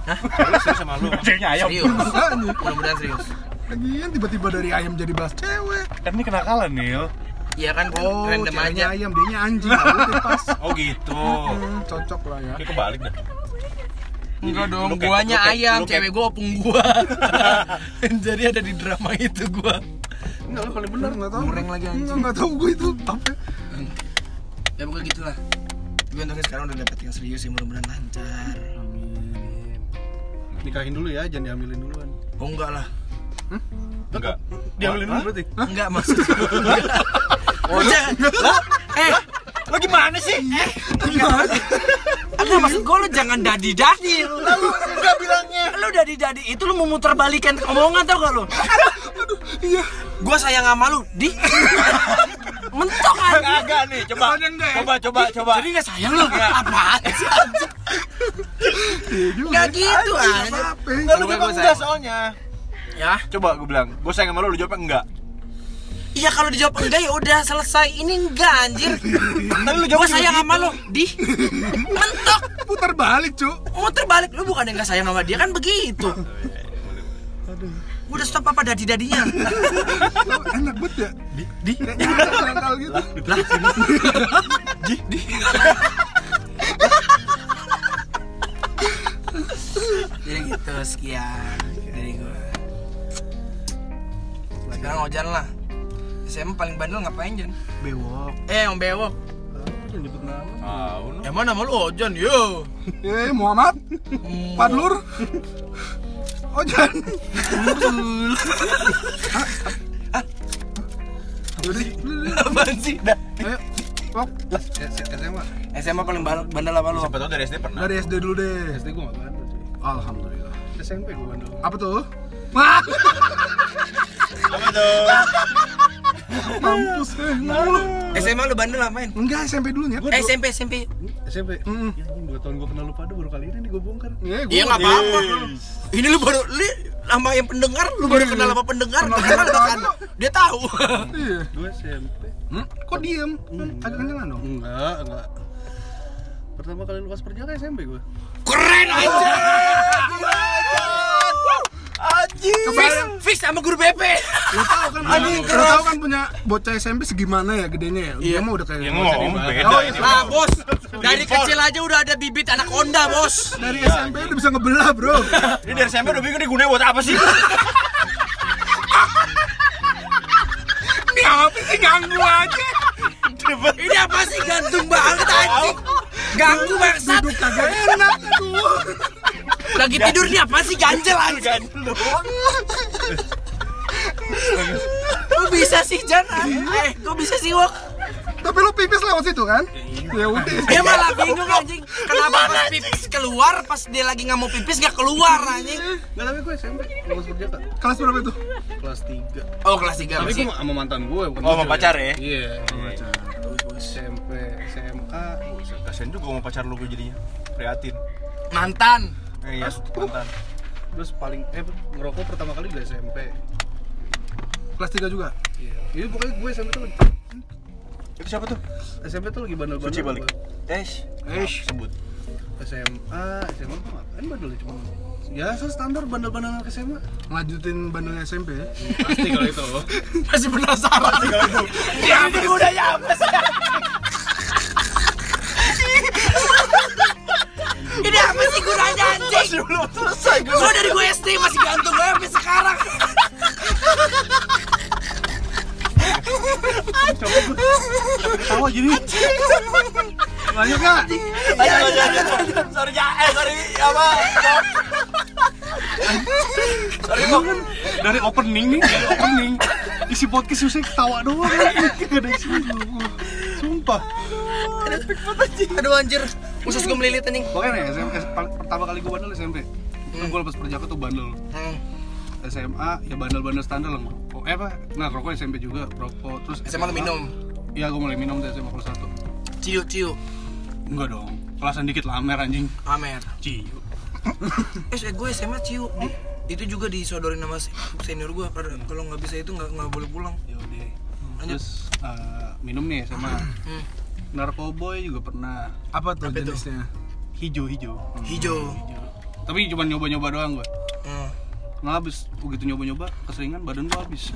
Speaker 1: Hah?
Speaker 6: Cewek lu serius sama lu?
Speaker 3: Ceweknya ayam.
Speaker 1: Serius
Speaker 4: Apaan ya?
Speaker 1: Mudah-mudahan serius
Speaker 4: Lagian tiba-tiba dari ayam jadi bahas cewek.
Speaker 3: Kan ini kenakalan, Nil.
Speaker 1: Iya kan
Speaker 4: Oh,
Speaker 1: random aja
Speaker 4: ceweknya ayam, dia anjing. Ya udah, pas.
Speaker 6: Oh gitu.
Speaker 4: Hmm, cocok lah ya.
Speaker 6: Kayak kebalik dah.
Speaker 1: Enggak dong,
Speaker 6: Lu kayak-
Speaker 1: guanya
Speaker 6: lu kayak-
Speaker 1: ayam,
Speaker 6: lu kayak-
Speaker 1: cewek gua opung gua. Jadi ada di drama itu gua.
Speaker 5: enggak lo paling benar
Speaker 4: Bener nggak tahu.
Speaker 1: Goreng lagi anjing.
Speaker 4: Enggak nggak tahu gue itu apa.
Speaker 1: Ya bukan gitulah. Tapi untungnya sekarang udah dapet yang serius ya mudah-mudahan lancar.
Speaker 5: nikahin dulu ya jangan diambilin duluan
Speaker 1: Oh enggak lah.
Speaker 6: Enggak.
Speaker 5: diambilin dulu berarti
Speaker 1: Enggak maksud gua. Oh, jangan. Lah, eh,
Speaker 6: Lu gimana sih?
Speaker 1: enggak maksud gua lu jangan dadi-dadi lu. Lu enggak bilangnya. Lu dadi-dadi itu lu memutar balikan omongan tau gak lu? Aduh, iya. Gua sayang sama lu, di. Mentok anjing.
Speaker 6: Kagak nih, coba. Coba coba coba.
Speaker 1: Jadi gak sayang lu? Apaan sih? Gak gitu aja.
Speaker 4: Apa?
Speaker 6: Enggak lu
Speaker 1: Pokoknya
Speaker 6: jawab enggak
Speaker 1: gua sayang.
Speaker 6: soalnya.
Speaker 1: Ya.
Speaker 6: Coba gue bilang, gue sayang sama lu, lu jawabnya enggak.
Speaker 1: Iya kalau dijawab enggak ya udah selesai. Ini enggak anjir.
Speaker 6: Tapi lu
Speaker 1: Gua
Speaker 6: jawabnya
Speaker 1: sayang sama lu, gitu. di. Mentok.
Speaker 4: Putar balik, Cuk.
Speaker 1: Muter balik lu bukan enggak sayang sama dia kan begitu. Udah stop apa dadi-dadinya.
Speaker 4: Lu Enak banget ya. Di di nakal gitu.
Speaker 1: Jadi gitu sekian dari gua. Sekarang ojan lah. SMA paling bandel ngapain, Jan?
Speaker 5: bewok
Speaker 1: Eh, Om Bewok.
Speaker 5: jangan nyebut nama
Speaker 6: Tahu lu.
Speaker 1: Emang nama lu Ojan, Oh, yo.
Speaker 4: Eh, Muhammad,
Speaker 1: Hmm.
Speaker 4: Padlur. Oh, Ojan. Ah, Jadi,
Speaker 1: Apaan sih? Dah.
Speaker 4: ayo. Pok. SMA.
Speaker 1: SMA paling bandel, bandel apa lu?
Speaker 6: Siapa tahu dari SD pernah.
Speaker 4: Dari SD dulu deh.
Speaker 5: SD gue gak bandel cuy
Speaker 4: Alhamdulillah.
Speaker 5: SMP gue bandel
Speaker 4: Apa tuh? Wah,
Speaker 6: Apa tuh?
Speaker 4: mampus eh. Nggak lu.
Speaker 1: SMA lu bandel ngapain?
Speaker 4: Enggak SMP dulunya.
Speaker 1: Eh, SMP, SMP.
Speaker 5: SMP
Speaker 4: Mm.
Speaker 5: ya, anjing, dua tahun gue kenal lu pada baru kali ini nih gue bongkar
Speaker 4: Iya,
Speaker 1: Iya
Speaker 4: gua
Speaker 1: nggak apa-apa. Ini lu baru li sama yang pendengar, lu baru kenal sama pendengar, kenal kan? Dia tahu.
Speaker 4: Iya.
Speaker 5: gue SMP
Speaker 4: Hmm? Kok diem? Kan Agak kenyalan dong.
Speaker 5: enggak enggak pertama kali lepas perjalanan SMP gue
Speaker 1: Keren aja.
Speaker 6: Anjing.
Speaker 1: Fix, fix sama guru BP.
Speaker 4: Lu tahu kan,
Speaker 6: Anjing,
Speaker 4: lu
Speaker 6: keras.
Speaker 4: tahu kan punya bocah SMP segimana ya gedenya ya? Iya, mah udah kayak
Speaker 6: Ya
Speaker 4: nggak usah
Speaker 6: ngomong
Speaker 4: dibahas.
Speaker 6: beda
Speaker 4: Oh, iya.
Speaker 6: ini.
Speaker 1: Nah, Bos, dari kecil aja udah ada bibit anak Honda, Bos.
Speaker 4: Dari SMP udah bisa ngebelah, Bro.
Speaker 6: Ini dari SMP udah bingung digunain buat apa sih?
Speaker 4: Ini apa sih ganggu aja?
Speaker 1: Ini apa sih gantung banget anjing? Ganggu bangsat.
Speaker 4: Duduk kagak enak aduh.
Speaker 1: Lagi tidur nih apa sih ganjel anjing? Kok bisa sih Jan? Eh, kok bisa sih Wok?
Speaker 4: Tapi lu pipis lewat situ kan? Ya udah.
Speaker 1: Dia malah bingung anjing. Kenapa pas pipis keluar, pas dia lagi nggak mau pipis nggak keluar anjing?
Speaker 5: enggak tapi gue SMP lepas perjalanan
Speaker 4: Kelas berapa itu?
Speaker 5: kelas 3
Speaker 1: Oh kelas 3
Speaker 5: tapi gue sama mantan gue bukan
Speaker 6: Oh, sama
Speaker 5: cewek.
Speaker 6: pacar ya?
Speaker 5: iya SMP SMA
Speaker 6: Kasian juga mau pacar lu gue jadinya. Prihatin.
Speaker 1: Mantan
Speaker 6: Eh, ya, mantan.
Speaker 5: terus paling eh ngerokok pertama kali udah SMP
Speaker 4: Kelas 3 juga.
Speaker 5: iya Jadi pokoknya gue SMP tuh
Speaker 6: Itu siapa tuh?
Speaker 5: SMP tuh lagi bandel-bandel
Speaker 6: Suci balik.
Speaker 5: gua.
Speaker 6: Eish.
Speaker 4: Eish.
Speaker 6: Sebut.
Speaker 5: SMA SMA tuh ngapain bandel cuma ya so standar bandel-bandel anak SMA
Speaker 4: Lanjutin bandelnya SMP ya.
Speaker 5: pasti kalau itu
Speaker 1: Masih penasaran Dia ini gunanya apa sih? Ini apa sih gunanya anjing?
Speaker 6: Belum selesai gue.
Speaker 1: Gue dari gue SD masih gantung gue sampai sekarang
Speaker 5: tawa gini
Speaker 4: Lanjut enggak?
Speaker 6: Ayo, ayo, ayo, ayo. iya, Sorry, ya, eh, sorry, apa? Bok. Sorry, Bok.
Speaker 3: Dari opening nih, dari opening.
Speaker 5: Isi podcast susah ketawa doang. Gak ada isi. Sumpah.
Speaker 1: Aduh anjir, usus gue melilit anjing.
Speaker 5: Makanya ya, SMP, pal- pertama kali gue bandel SMP. Kan gue lepas perjaka tuh bandel.
Speaker 1: Hmm.
Speaker 5: SMA ya bandel-bandel standar lah. ngerokok. Eh apa? Nah, rokok SMP juga, rokok. Terus
Speaker 1: SMA lu minum.
Speaker 5: Iya, gue mulai minum dari SMA kelas 1.
Speaker 1: Ciu ciu.
Speaker 5: Enggak dong. Kelasan dikit lah amer anjing.
Speaker 1: Amer.
Speaker 5: Ciu.
Speaker 1: Eh, saya- gue SMA ciu. Di- itu juga disodorin sama se- senior gue. Pada- Kalau nggak bisa itu nggak nggak boleh pulang.
Speaker 5: Ya udah.
Speaker 1: Lanjut.
Speaker 5: Terus eh, minum nih SMA.
Speaker 1: Hmm.
Speaker 5: Narkoboy juga pernah
Speaker 4: Apa tuh
Speaker 1: Apa itu?
Speaker 4: jenisnya?
Speaker 5: hijau-hijau.
Speaker 1: Hijau.
Speaker 5: Tapi cuma nyoba-nyoba doang gue.
Speaker 1: Hmm.
Speaker 5: Nah, habis begitu nyoba-nyoba keseringan badan gue habis.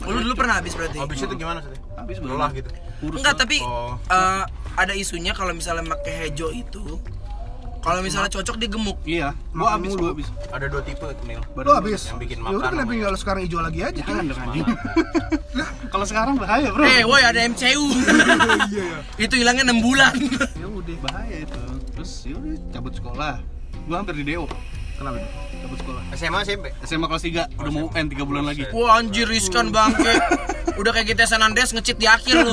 Speaker 1: Oh, Lu dulu pernah habis berarti?
Speaker 3: Habis itu gimana sih?
Speaker 5: Habis badan.
Speaker 3: Lelah gitu.
Speaker 5: Kurus.
Speaker 1: Enggak,
Speaker 5: lah.
Speaker 1: tapi
Speaker 3: Oh.
Speaker 1: eh, ada isunya kalau misalnya pakai hijau itu kalau misalnya cocok dia gemuk.
Speaker 5: Iya, gua habis gua habis.
Speaker 3: Ada dua tipe Nil.
Speaker 5: Badan
Speaker 4: Lu
Speaker 5: gua
Speaker 4: habis?
Speaker 3: yang bikin
Speaker 4: Ya udah
Speaker 3: makan
Speaker 4: kenapa
Speaker 3: namanya.
Speaker 4: nggak lu sekarang hijau lagi aja?
Speaker 5: Jangan dong anjing. Kalau sekarang bahaya, Bro.
Speaker 1: Eh, woi ada MCU.
Speaker 5: Iya,
Speaker 1: itu hilangnya 6 bulan.
Speaker 5: Ya udah bahaya itu. Terus ya udah cabut sekolah. Gua hampir di DO,
Speaker 4: Kenapa? tuh?
Speaker 5: cabut sekolah.
Speaker 3: SMA SMP.
Speaker 5: SMA kelas 3, udah mau UN 3 bulan lagi.
Speaker 1: Wah anjir riskan bangke. Udah kayak GTA San Andreas ngecit di akhir lu.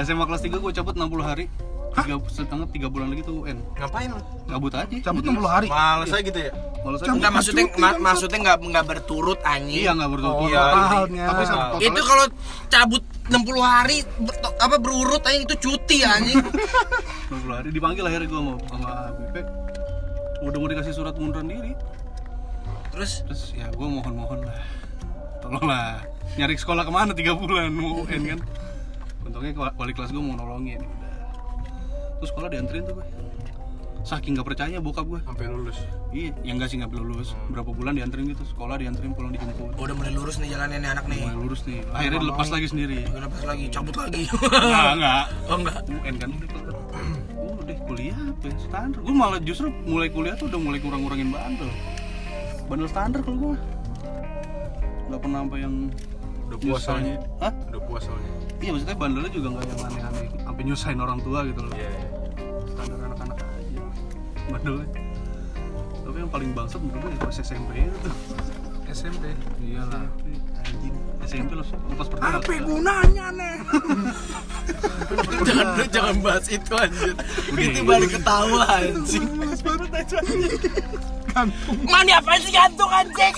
Speaker 5: SMA kelas 3 gua cabut 60 hari. Tiga setengah tiga bulan lagi tuh UN.
Speaker 3: Ngapain lu?
Speaker 5: Cabut aja.
Speaker 4: Cabut 60 hari.
Speaker 3: Males aja gitu ya.
Speaker 5: Males aja.
Speaker 1: Enggak maksudnya ma- maksudnya enggak enggak berturut anjing.
Speaker 5: Iya, enggak berturut.
Speaker 3: Iya,
Speaker 4: Mahalnya.
Speaker 5: Tapi satu totalnya-
Speaker 1: itu kalau cabut 60 hari ber- to- apa berurut anjing itu cuti anjing.
Speaker 5: 60 hari dipanggil akhirnya gue mau sama BP udah mau dikasih surat pengunduran diri
Speaker 1: Terus
Speaker 5: terus ya gue mohon mohon lah tolonglah nyari sekolah kemana tiga bulan mau UN kan untungnya ke- wali kelas gue mau nolongin ya Udah. terus sekolah dianterin tuh gue saking gak percaya bokap gue
Speaker 3: Sampai lulus.
Speaker 5: iya yang gak sih gak lulus berapa bulan dianterin gitu sekolah dianterin pulang dijemput
Speaker 1: udah mulai lurus nih jalannya nih anak nih.
Speaker 5: mulai lurus nih akhirnya dilepas lagi sendiri
Speaker 1: Gue lepas lagi, cabut lagi.
Speaker 5: enggak enggak
Speaker 1: oh enggak.
Speaker 5: UN kan udah kelar. udah kuliah apa ya? standar gue malah justru mulai kuliah tuh udah mulai kurang-kurangin bandel bandel standar kalau gue nggak pernah sampai yang
Speaker 3: Udah puas soalnya.
Speaker 5: Hah?
Speaker 3: Udah puas soalnya.
Speaker 5: iya maksudnya bandelnya juga nggak yang aneh-aneh sampai nyusahin orang tua gitu loh
Speaker 3: Iya. iya.
Speaker 5: standar anak-anak aja bandelnya tapi yang paling bangsat menurut gue ya pas SMP itu tuh
Speaker 4: SMP.
Speaker 5: iyalah anjing SMP lo pas pertama
Speaker 4: Apa gunanya nih?
Speaker 1: jangan jangan bahas itu anjir.
Speaker 5: Udah.
Speaker 1: itu balik ketawa anjing.
Speaker 4: Gantung.
Speaker 1: Mani apa sih gantung anjing?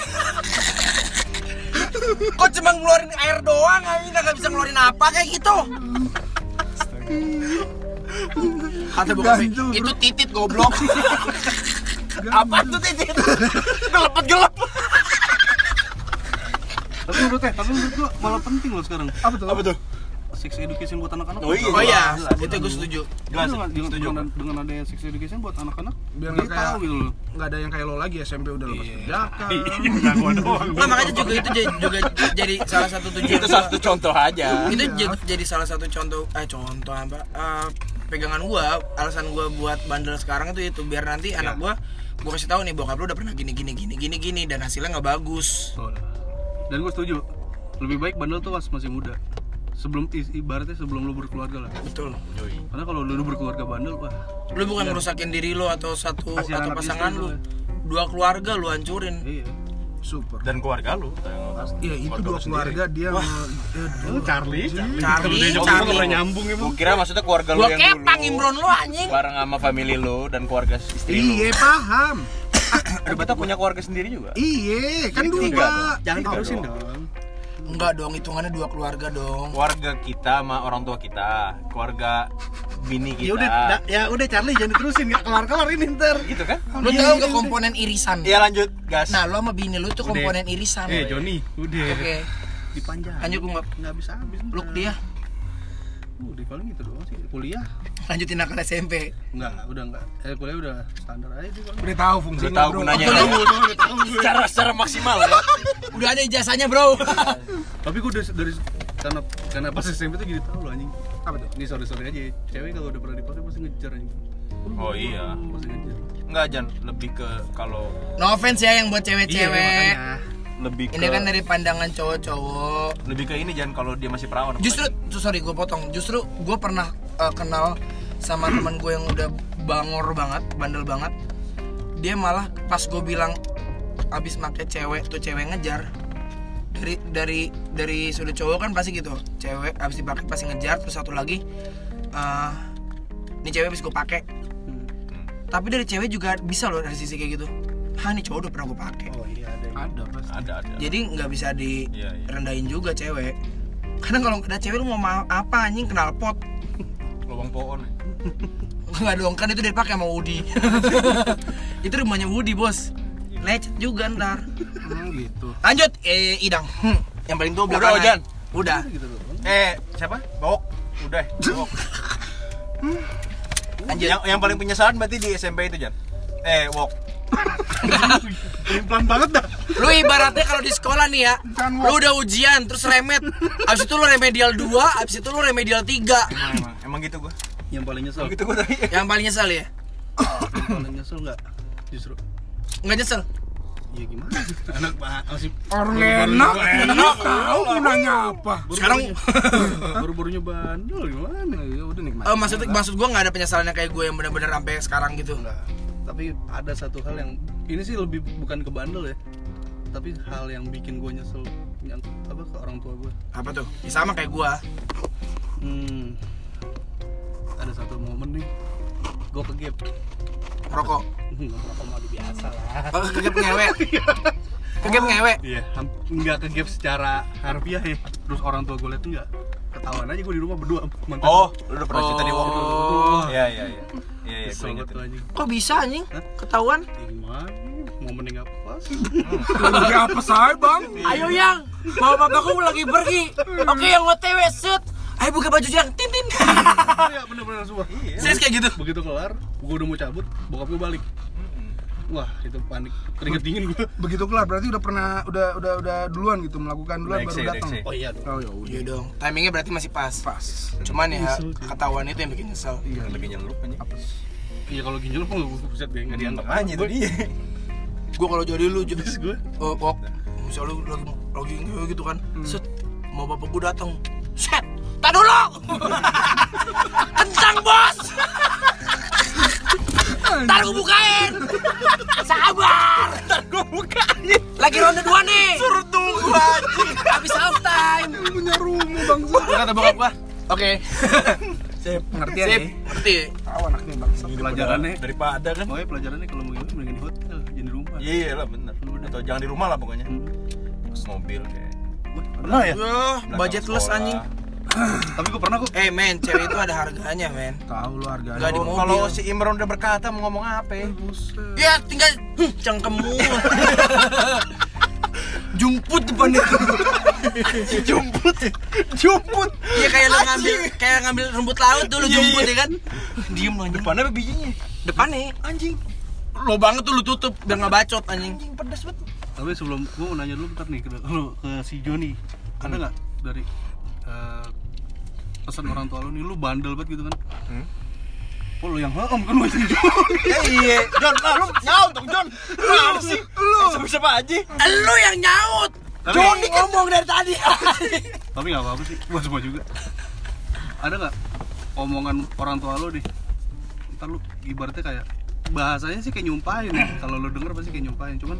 Speaker 1: Kok cuma ngeluarin air doang anjing nggak bisa ngeluarin apa kayak gitu? Kata bokap
Speaker 4: Ganjel, bro.
Speaker 1: itu titit goblok. apa tuh titit? Gelepet gelep.
Speaker 5: tapi menurut gue tapi menurut gue malah penting loh sekarang
Speaker 4: Apa tuh?
Speaker 3: Apa tuh?
Speaker 5: sex education buat anak-anak
Speaker 3: Oh iya.
Speaker 1: Oh iya, itu gue setuju.
Speaker 5: Gak
Speaker 3: Jelas,
Speaker 5: dengan,
Speaker 3: setuju.
Speaker 5: dengan, dengan ada sex education buat anak-anak
Speaker 4: Biar
Speaker 5: dia
Speaker 4: nggak kayak-
Speaker 5: tahu gitu loh
Speaker 4: Nggak ada yang kayak lo lagi SMP udah lepas perjaka.
Speaker 5: nggak gua doang
Speaker 1: Nah, makanya juga itu jadi- juga jadi salah satu tujuan.
Speaker 6: Itu
Speaker 1: gua.
Speaker 6: satu contoh aja.
Speaker 1: itu
Speaker 5: Iya.
Speaker 1: jadi, jadi salah satu contoh eh contoh apa eh, pegangan gua alasan gua buat bandel sekarang itu itu biar nanti
Speaker 5: Iya.
Speaker 1: anak gua gua kasih tahu nih bokap lu udah pernah gini gini gini gini gini dan hasilnya nggak bagus
Speaker 5: dan gue setuju lebih baik bandel tuh pas masih muda sebelum i- ibaratnya sebelum lu berkeluarga lah
Speaker 1: betul
Speaker 5: karena kalau lu udah berkeluarga bandel wah
Speaker 1: lu bukan ngerusakin diri lu atau satu atau
Speaker 5: Kasih Iya. anak istri
Speaker 1: pasangan lu
Speaker 5: lu
Speaker 1: dua keluarga lu hancurin
Speaker 5: iya
Speaker 4: Super.
Speaker 3: Dan keluarga lu.
Speaker 4: Iya itu dua
Speaker 3: lu sendiri.
Speaker 4: keluarga dia nge- eh,
Speaker 5: Charlie
Speaker 1: Charlie Charlie
Speaker 5: nyambung
Speaker 6: Gua
Speaker 5: emang
Speaker 6: kira maksudnya keluarga lu
Speaker 1: gua
Speaker 5: kan?
Speaker 6: yang
Speaker 1: kepang
Speaker 6: dulu.
Speaker 1: imron lu anjing
Speaker 6: Bareng sama family lu dan keluarga istri lu.
Speaker 4: Iya paham.
Speaker 6: Aduh, Beta punya keluarga sendiri juga.
Speaker 4: Iya kan
Speaker 6: Tiga
Speaker 4: dua.
Speaker 6: dong.
Speaker 5: jangan
Speaker 6: Tiga
Speaker 5: terusin
Speaker 6: dong.
Speaker 5: dong
Speaker 1: enggak dong hitungannya dua keluarga dong
Speaker 6: Keluarga kita sama orang tua kita, keluarga bini kita.
Speaker 5: ya udah da- ya udah Charlie jangan terusin nggak kelar kelar ini ntar
Speaker 6: gitu kan?
Speaker 1: lu
Speaker 5: Iya,
Speaker 1: tahu gak komponen irisan
Speaker 6: Iya lanjut, gas.
Speaker 1: nah lu sama bini lu tuh komponen irisan
Speaker 5: eh
Speaker 1: oke
Speaker 5: Joni udah dipanjang
Speaker 1: lanjut gua nggak-
Speaker 5: nggak bisa habis ntar.
Speaker 1: lu dia
Speaker 5: udah paling gitu doang sih kuliah
Speaker 1: lanjutin akal SMP
Speaker 5: Enggak, enggak, udah enggak. Eh, kuliah udah standar aja sih kalau.
Speaker 4: Udah tahu
Speaker 6: Udah
Speaker 4: fungsinya
Speaker 6: tahu
Speaker 4: bro.
Speaker 6: gunanya. kan? secara secara maksimal ya.
Speaker 1: udah ada ijazahnya bro
Speaker 5: Tapi gue dari, dari karena karena pas SMP tuh jadi tahu loh anjing. Apa tuh? Ini sorry sorry aja. ya. Cewek kalau udah pernah dipakai pasti ngejar anjing.
Speaker 3: Oh iya.
Speaker 5: Pasti ngejar.
Speaker 3: Enggak Jan, lebih ke kalau
Speaker 1: no offense ya yang buat cewek-cewek
Speaker 3: lebih ke
Speaker 1: ini kan dari pandangan cowok-cowok
Speaker 3: lebih ke ini Jan kalau dia masih perawan.
Speaker 1: justru tuh, sorry gue potong justru gue pernah uh, kenal sama teman gue yang udah bangor banget bandel banget dia malah pas gue bilang abis make cewek tuh cewek ngejar dari dari dari sudut cowok kan pasti gitu cewek abis dipakai pasti ngejar terus satu lagi eh ini cewek abis gue pakai tapi dari cewek juga bisa loh dari sisi kayak gitu Hah nih cowok udah pernah gue pakai
Speaker 5: ada pasti
Speaker 3: ada ada
Speaker 1: jadi nggak bisa
Speaker 3: Iya, iya.
Speaker 1: direndahin juga cewek karena kalau ada cewek lu mau ma- apa anjing kenal pot
Speaker 3: lubang pohon ya.
Speaker 1: nggak dong kan itu dia pakai sama Woody itu rumahnya Woody bos
Speaker 3: Iya.
Speaker 1: lecet juga ntar
Speaker 5: Hmm, gitu
Speaker 1: lanjut eh idang Hmm, yang paling tua
Speaker 3: Udah,
Speaker 1: belakangan.
Speaker 3: Ojan.
Speaker 1: udah
Speaker 5: gitu,
Speaker 3: eh siapa bawok udah bawok
Speaker 1: lanjut
Speaker 3: yang yang paling penyesalan berarti di SMP itu Jan eh wok
Speaker 5: pelan banget dah
Speaker 1: lu ibaratnya kalau di sekolah nih ya lu udah ujian terus remet abis itu lu remedial 2 abis itu lu remedial 3
Speaker 3: emang emang gitu gua
Speaker 5: yang paling nyesel
Speaker 3: gitu gua tadi
Speaker 1: yang paling nyesel ya
Speaker 5: yang paling nyesel nggak justru
Speaker 1: nggak nyesel Eh,
Speaker 5: ya gimana anak pak masih
Speaker 4: Orang enak, enak tahu mau nanya apa.
Speaker 1: sekarang
Speaker 5: baru-barunya bandel gimana ya udah nikmat
Speaker 3: Oh,
Speaker 1: eh, maksud maksud gue nggak ada penyesalannya kayak gue yang bener-bener sampai sekarang gitu
Speaker 5: Enggak. Tapi ada satu hal yang ini sih lebih bukan ke bandel ya. Tapi hal yang bikin gue nyesel yang apa ke orang tua gue.
Speaker 1: apa tuh Ya, sama kayak gue
Speaker 5: Hmm. Ada satu momen nih. Gue ke gap. Hmm,
Speaker 1: rokok
Speaker 5: Ngerokok mah biasa lah.
Speaker 1: Oh, kegep ngewe kegep ngewe
Speaker 5: Iya, ham- nggak ke gap secara harfiah ya. Terus orang tua gue liat enggak ketahuan aja gue di rumah berdua sama mantan.
Speaker 3: oh lu udah pernah cerita di wok dulu
Speaker 1: oh
Speaker 3: iya iya iya iya iya gua
Speaker 5: Kesel
Speaker 3: inget
Speaker 5: banget tuh
Speaker 3: itu.
Speaker 5: anjing.
Speaker 1: kok bisa anjing ketahuan
Speaker 5: Ya Gimana? Momen yang nggak pas.
Speaker 4: Lagi apa saya bang?
Speaker 1: ayo yang bapak bapakku lagi pergi oke yang otw set ayo buka baju yang tin tin
Speaker 5: Iya, bener-bener semua.
Speaker 1: serius kayak gitu
Speaker 5: begitu kelar gue udah mau cabut bokap gue balik wah itu panik keringet dingin gue
Speaker 4: Begitu kelar berarti udah pernah udah udah udah duluan gitu melakukan duluan
Speaker 3: Next
Speaker 4: baru
Speaker 3: ya,
Speaker 4: datang.
Speaker 3: next ya.
Speaker 5: oh iya dong
Speaker 4: Oh ya udah.
Speaker 1: Iya dong, timingnya berarti masih pas. Pas. Cuman ya ketahuan itu yang bikin nyesel.
Speaker 3: lebih nyelup anjing
Speaker 5: iya kalau ginjal pun gue buset deh nggak diantar
Speaker 3: makanya itu dia
Speaker 1: Gue kalau jadi lu, Ju-
Speaker 5: terus gue
Speaker 1: oh, kok misalnya lu lagi lagi ngewe gitu kan, set mau bapak gue datang, set, tak dulu, kencang bos, ntar gue bukain, sabar, ntar gue bukain, lagi ronde dua nih, suruh tunggu aja, habis half time,
Speaker 4: Punya rumah bang.
Speaker 1: kata bokap gue, oke,
Speaker 4: Ngerti ya?
Speaker 1: sip, ngerti,
Speaker 4: Tahu anaknya bang.
Speaker 5: pelajarannya
Speaker 3: daripada kan
Speaker 5: pokoknya pelajarannya kalau mau gimana mendingan di hotel jangan di rumah
Speaker 3: iya iya lah bener atau jangan di rumah lah pokoknya terus mobil kayak
Speaker 5: pernah
Speaker 1: Yah,
Speaker 5: ya
Speaker 3: belakang
Speaker 1: budget less
Speaker 3: sekolah.
Speaker 1: anjing.
Speaker 5: tapi gue pernah kok
Speaker 1: Eh men, cewek itu ada harganya men
Speaker 4: Tahu lu harganya.
Speaker 1: Gak di mobil
Speaker 3: kalau si Imron udah berkata mau ngomong apa ya?
Speaker 1: Ya tinggal hmm, cengkemmu Jumput depan itu
Speaker 3: jumput jumput
Speaker 1: Ya kayak lu ngambil kayak ngambil rumput laut dulu jumput ya kan Diem lu anjing
Speaker 3: depannya apa bijinya
Speaker 1: Depannya
Speaker 3: anjing
Speaker 1: Lo banget tuh lu tutup biar gak bacot anjing
Speaker 3: anjing pedes banget
Speaker 5: tapi sebelum gue mau nanya dulu bentar nih ke, lu, ke si Joni ada nggak dari eh, pesan orang tua lu nih lu bandel banget gitu kan
Speaker 3: Hmm.
Speaker 5: Oh lu yang om kan lu si Joni
Speaker 3: ya iya John lah lu nyaut dong John lu apa sih lu siapa siapa aja
Speaker 1: Lu yang nyaut
Speaker 5: Tapi-
Speaker 1: Joni ngomong dari tadi
Speaker 5: tapi nggak apa-apa sih gua semua juga ada nggak omongan orang tua lo deh ntar lu ibaratnya kayak bahasanya sih kayak nyumpahin kalau lo denger pasti kayak nyumpahin cuman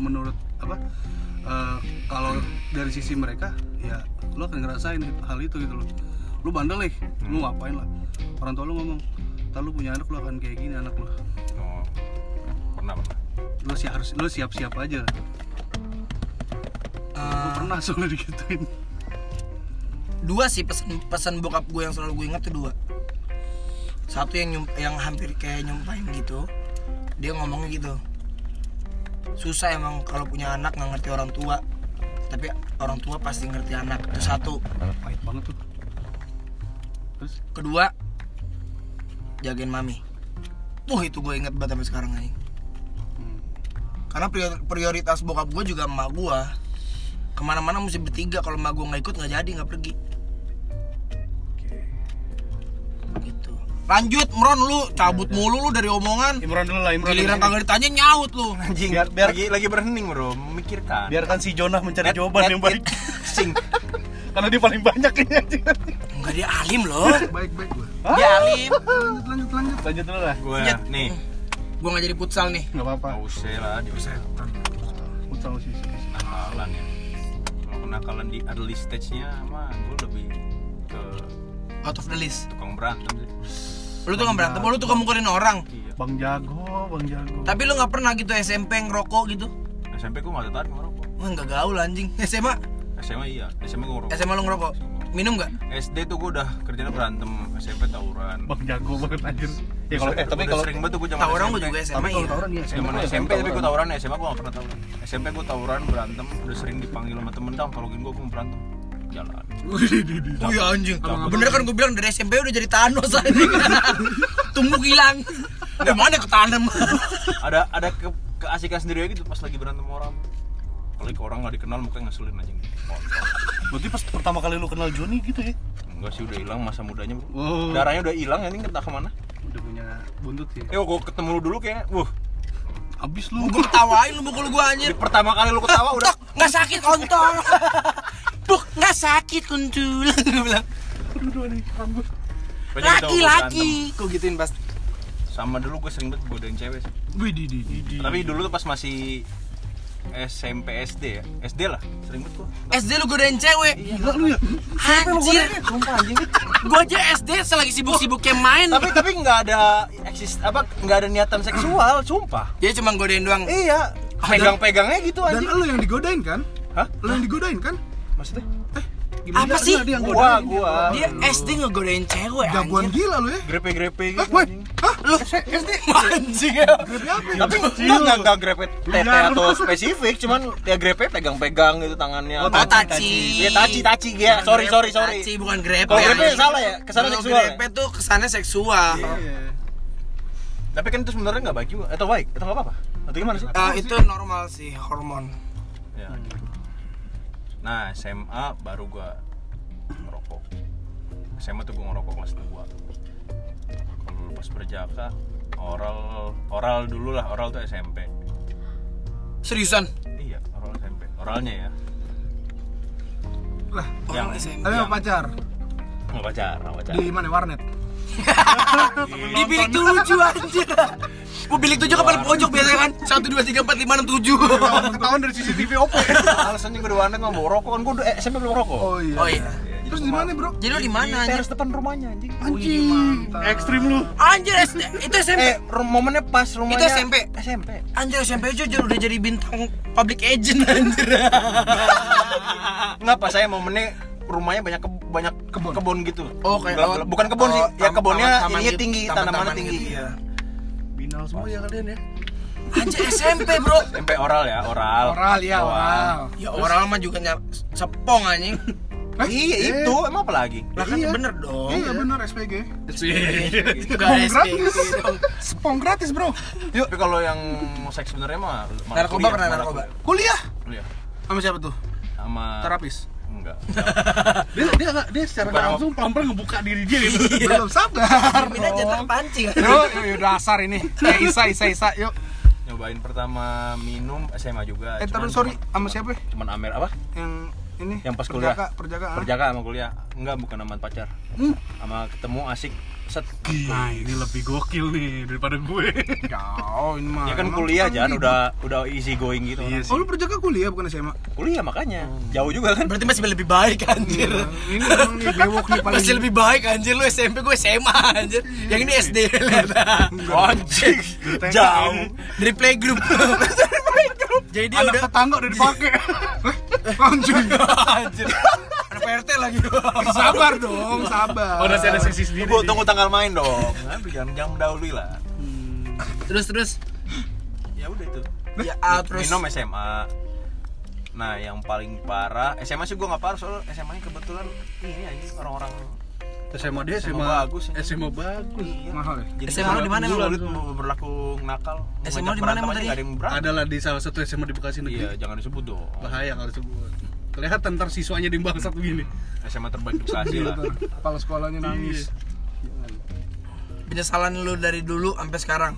Speaker 5: menurut apa eh, kalau dari sisi mereka ya lo akan ngerasain itu- hal itu gitu loh lu bandel nih lu ngapain lah orang tua lu ngomong ntar lu punya anak lu akan kayak gini anak lu
Speaker 3: oh pernah pernah
Speaker 5: lu sih harus lu siap siap aja
Speaker 1: Ah.
Speaker 5: Gua pernah soalnya digituin
Speaker 1: Dua sih pesan pesan bokap gue yang selalu gue ingat tuh dua Satu yang nyum, yang hampir kayak nyumpahin gitu Dia ngomongnya gitu susah emang kalau punya anak nggak ngerti orang tua tapi orang tua pasti ngerti anak itu satu
Speaker 5: pahit banget tuh terus
Speaker 1: kedua jagain mami wah itu gue inget banget sampai sekarang anjing
Speaker 4: Hmm.
Speaker 1: karena prior- prioritas bokap gue juga emak gue kemana-mana mesti bertiga kalau emak gue nggak ikut nggak jadi nggak pergi gitu lanjut Mron lu cabut
Speaker 4: Iya,
Speaker 1: mulu lu dari omongan
Speaker 5: Imron dulu lah Imron
Speaker 1: giliran kagak ditanya nyaut lu
Speaker 3: anjing
Speaker 5: Biar-
Speaker 3: biar,
Speaker 5: biar-
Speaker 3: lagi lagi berhening bro memikirkan
Speaker 5: biarkan si Jonah
Speaker 3: Ed,
Speaker 5: mencari jawaban
Speaker 3: Ed,
Speaker 5: yang
Speaker 3: Ed.
Speaker 5: baik
Speaker 3: sing
Speaker 5: karena dia paling banyak ini anjing.
Speaker 1: nggak dia alim loh
Speaker 4: Baik baik gua.
Speaker 1: dia alim
Speaker 4: Lanjut lanjut lanjut.
Speaker 5: lanjut dulu lah
Speaker 3: gue
Speaker 1: Lanjut.
Speaker 3: nih
Speaker 1: gue nggak jadi futsal nih
Speaker 5: nggak apa-apa
Speaker 3: usah lah di usah
Speaker 5: Futsal sih sih, sih.
Speaker 3: halan ya
Speaker 6: kenakalan di early stage-nya mah gue lebih ke
Speaker 1: out of the list
Speaker 6: tukang berantem sih.
Speaker 1: lu tuh nggak berantem lu tuh mukulin orang
Speaker 6: Iya.
Speaker 5: Bang Jago, Bang Jago.
Speaker 1: tapi lu nggak pernah gitu SMP ngerokok gitu
Speaker 6: SMP gue gak tertarik ngerokok.
Speaker 1: Wah nggak gaul anjing SMA
Speaker 6: SMA iya, SMA gue ngerokok.
Speaker 1: SMA lu ngerokok minum nggak
Speaker 6: SD tuh gue udah kerjanya berantem, SMP tawuran.
Speaker 5: Bang Jago banget anjir. Ya kalau eh tapi
Speaker 6: Udah
Speaker 5: kalau
Speaker 6: sering banget tuh gue zaman
Speaker 1: tawuran gue
Speaker 6: SMP.
Speaker 1: juga
Speaker 5: tapi
Speaker 1: SMA
Speaker 5: kalau
Speaker 1: iya
Speaker 5: tawuran ya
Speaker 6: Zaman
Speaker 5: tuh
Speaker 6: SMP tapi gue
Speaker 5: tawuran.
Speaker 6: tawuran, SMA gue gak pernah tawuran. SMP gue tawuran berantem, udah sering dipanggil sama temen dong, tolongin gue gue mau berantem. Jalan.
Speaker 1: Oh iya anjing. Bener kan gue bilang dari SMP udah jadi Thanos anjing. Tumbuk hilang. Di mana ketanem?
Speaker 6: Ada ada ke keasikan sendiri aja gitu pas lagi berantem sama orang. Apalagi ke orang gak dikenal mukanya ngeselin anjing. Kontol.
Speaker 5: Berarti pas pertama kali lu kenal Joni gitu ya.
Speaker 6: Enggak sih udah hilang masa mudanya, Bro.
Speaker 5: Wow.
Speaker 6: Darahnya udah hilang anjing entah kemana
Speaker 5: Udah punya buntut ya.
Speaker 6: Eh, gue ketemu lu dulu kayaknya. Wuh,
Speaker 5: Abis lu.
Speaker 1: Gue ketawain lu mukul gue anjir.
Speaker 6: di pertama kali lu ketawa udah
Speaker 1: Tok, nggak sakit kontol. Buk, nggak sakit kuntul. Gue bilang,
Speaker 5: Aduh nih rambut.
Speaker 6: Pokoknya gitu, gua berantem.
Speaker 1: laki-laki. Gue gituin pasti.
Speaker 6: Sama dulu gue sering banget godain cewek sih.
Speaker 5: Wih di di di.
Speaker 6: Tapi dulu tuh pas masih SMP SD ya. SD lah, sering banget gua.
Speaker 1: SD lu godain cewek.
Speaker 5: Gila lu ya. Iya,
Speaker 1: Anjir.
Speaker 6: Sumpah anjing.
Speaker 1: Gue aja SD selagi sibuk-sibuknya main.
Speaker 6: tapi tapi nggak ada eksis apa nggak ada niatan seksual, sumpah.
Speaker 1: Dia cuma godain doang.
Speaker 6: Iya. Pegang-pegangnya gitu
Speaker 4: Dan
Speaker 6: anjing.
Speaker 4: lu yang digodain kan?
Speaker 6: Hah?
Speaker 4: Lu yang digodain kan?
Speaker 6: Maksudnya?
Speaker 1: Apa sih?
Speaker 4: Dia yang
Speaker 6: Gua
Speaker 4: godain.
Speaker 6: gua
Speaker 1: Dia SD ngegodain cewek
Speaker 4: Jagoan
Speaker 1: anjir.
Speaker 4: gila lu ya.
Speaker 6: Iya. grepe-grepe
Speaker 4: Eh,
Speaker 6: gitu.
Speaker 4: woi.
Speaker 6: anjing.
Speaker 4: Hah? Lu
Speaker 1: Anjing ya.
Speaker 6: Tapi nggak nggak nggak grepe tete atau spesifik, cuman ya grepe pegang-pegang gitu tangannya.
Speaker 1: Oh, taci.
Speaker 6: Iya taci taci ya. Sorry sorry sorry.
Speaker 1: Taci bukan grepe.
Speaker 6: Kalau grepe
Speaker 1: anjing.
Speaker 6: salah ya, kesannya
Speaker 1: Kalau
Speaker 6: seksual. ya?
Speaker 1: Grepe tuh kesannya seksual.
Speaker 6: Tapi kan itu sebenarnya nggak baik juga, atau baik, atau nggak apa-apa? Atau gimana sih?
Speaker 1: Eh, itu normal sih hormon.
Speaker 6: Ya. Nah SMA baru gua ngerokok. SMA tuh gua ngerokok kelas 2 Kalau lu pas berjaka, oral oral dulu lah, oral tuh SMP.
Speaker 1: Seriusan?
Speaker 6: Iya, oral SMP. Oralnya ya.
Speaker 4: Lah,
Speaker 6: yang
Speaker 1: Oral SMP.
Speaker 4: tapi sama pacar
Speaker 6: nggak pacar, nggak pacar.
Speaker 1: Iya.
Speaker 4: di mana warnet?
Speaker 1: Di bilik tujuh anjir. Bu bilik tujuh kan paling pojok biasanya kan. Satu dua tiga empat lima enam tujuh.
Speaker 4: Ketahuan dari CCTV OP.
Speaker 6: Alasannya gua di warnet nggak bawa rokok kan gua udah- eh, SMP belum rokok.
Speaker 4: Oh iya.
Speaker 1: Oh iya.
Speaker 4: Terus di mana, Bro?
Speaker 1: Jadi lu di mana anjir?
Speaker 6: Terus depan rumahnya anjing.
Speaker 4: Anjing.
Speaker 5: Ekstrim lu.
Speaker 1: Anjir SD, itu SMP.
Speaker 6: Eh, rum- momennya pas rumahnya.
Speaker 1: Itu SMP.
Speaker 6: SMP.
Speaker 1: Anjir SMP jujur udah jadi bintang public agent anjir. Ah,
Speaker 6: Enggak, pas saya momennya rumahnya banyak ke- banyak kebun, kebun gitu.
Speaker 1: Oh, kayak
Speaker 6: Gelap-
Speaker 1: oh,
Speaker 6: gelap. bukan kebun sih,
Speaker 1: oh,
Speaker 6: ya
Speaker 1: tam-
Speaker 6: kebunnya
Speaker 1: taman-taman
Speaker 6: ininya
Speaker 1: gitu,
Speaker 6: tinggi,
Speaker 1: taman-taman
Speaker 6: tanamannya
Speaker 1: gitu,
Speaker 6: tinggi.
Speaker 1: iya.
Speaker 5: Binal semua ya kalian ya.
Speaker 1: Anjir SMP, Bro.
Speaker 6: SMP oral ya, oral.
Speaker 4: Oral ya,
Speaker 6: Doang.
Speaker 4: oral.
Speaker 1: Ya oral mah juga nyap sepong anjing.
Speaker 6: Iya, itu emang apa lagi?
Speaker 1: Lah kan bener dong.
Speaker 4: Eh,
Speaker 1: Iya.
Speaker 4: Iya benar SPG.
Speaker 1: Enggak
Speaker 4: Spong
Speaker 1: SD.
Speaker 4: gratis. Spong gratis, Bro. Yuk,
Speaker 6: Tapi kalau yang mau seks sebenarnya mah malah
Speaker 1: Narkoba
Speaker 6: kuliah,
Speaker 1: pernah
Speaker 6: malah
Speaker 1: narkoba.
Speaker 4: kuliah.
Speaker 6: Kuliah.
Speaker 4: Sama siapa tuh?
Speaker 6: Sama
Speaker 4: Terapis.
Speaker 6: enggak.
Speaker 5: Dia dia nggak- dia secara nggak
Speaker 6: Barang-
Speaker 5: langsung pelan-pelan ngebuka diri dia gitu.
Speaker 4: Belum sabar.
Speaker 1: Min aja terpancing.
Speaker 4: Yuk, yuk, yuk, dasar ini. Eh, Isa, Isa, Isa, yuk.
Speaker 6: Nyobain pertama minum SMA juga.
Speaker 4: Eh,
Speaker 6: cuman-
Speaker 4: terus sorry, sama siapa? ya?
Speaker 6: Cuman Amer apa?
Speaker 4: Yang ini.
Speaker 6: Yang pas kuliah.
Speaker 4: perjaka, Perjaka, ah.
Speaker 6: Perjaka sama kuliah. Enggak, bukan sama pacar.
Speaker 4: Hmm.
Speaker 6: Sama ketemu asik set.
Speaker 5: Nah, ini lebih gokil nih daripada gue.
Speaker 4: Jauh ini mah.
Speaker 6: Ya kan
Speaker 4: Emang
Speaker 6: kuliah jangan
Speaker 4: gitu.
Speaker 6: udah udah easy going gitu.
Speaker 5: Iya
Speaker 4: Oh,
Speaker 5: sih.
Speaker 4: lu perjaka kuliah bukan SMA?
Speaker 6: Kuliah makanya. Jauh juga kan.
Speaker 1: Berarti masih lebih baik anjir.
Speaker 4: Ini emang nih bewok nih Iya. paling.
Speaker 1: Masih lebih baik anjir lu SMP gue SMA anjir. Yang ini SD lihat.
Speaker 6: Anjing. Jauh.
Speaker 1: Dari playgroup. Jadi dia
Speaker 4: Anak
Speaker 1: udah
Speaker 4: tetangga udah Iya. dipakai. Eh, Anjing.
Speaker 1: anjir. Anak PRT lagi.
Speaker 4: Sabar dong, sabar.
Speaker 5: Oh, udah saya ada sesi sendiri.
Speaker 6: Tunggu, tunggu tanggal main dong. Nanti jangan jangan mendahului lah.
Speaker 1: terus terus.
Speaker 6: Ya udah itu.
Speaker 1: Ya ah, terus.
Speaker 6: Minum SMA. Nah, yang paling parah SMA sih gua nggak parah soal SMA-nya kebetulan ini aja orang-orang
Speaker 5: SMA dia
Speaker 6: SMA
Speaker 5: SMA
Speaker 6: bagus ya.
Speaker 5: SMA bagus.
Speaker 6: Iya.
Speaker 4: Mahal ya?
Speaker 6: Jadi
Speaker 1: SMA lu di mana, Bang?
Speaker 6: mulut mau berlaku nakal.
Speaker 1: SMA
Speaker 6: Ngajak
Speaker 1: di mana
Speaker 6: berantem
Speaker 1: emang
Speaker 6: aja
Speaker 1: tadi?
Speaker 6: nggak ada yang berantem.
Speaker 5: Adalah di salah satu SMA di
Speaker 6: Iya,
Speaker 5: Bekasi negeri.
Speaker 6: jangan disebut dong.
Speaker 5: Bahaya kalau sebut. Kelihatan ntar siswanya di bangsat begini.
Speaker 6: SMA terbaik di Bekasi lah.
Speaker 4: Kepala sekolahnya
Speaker 5: Iya.
Speaker 4: nangis.
Speaker 1: Penyesalan lu dari dulu sampai sekarang.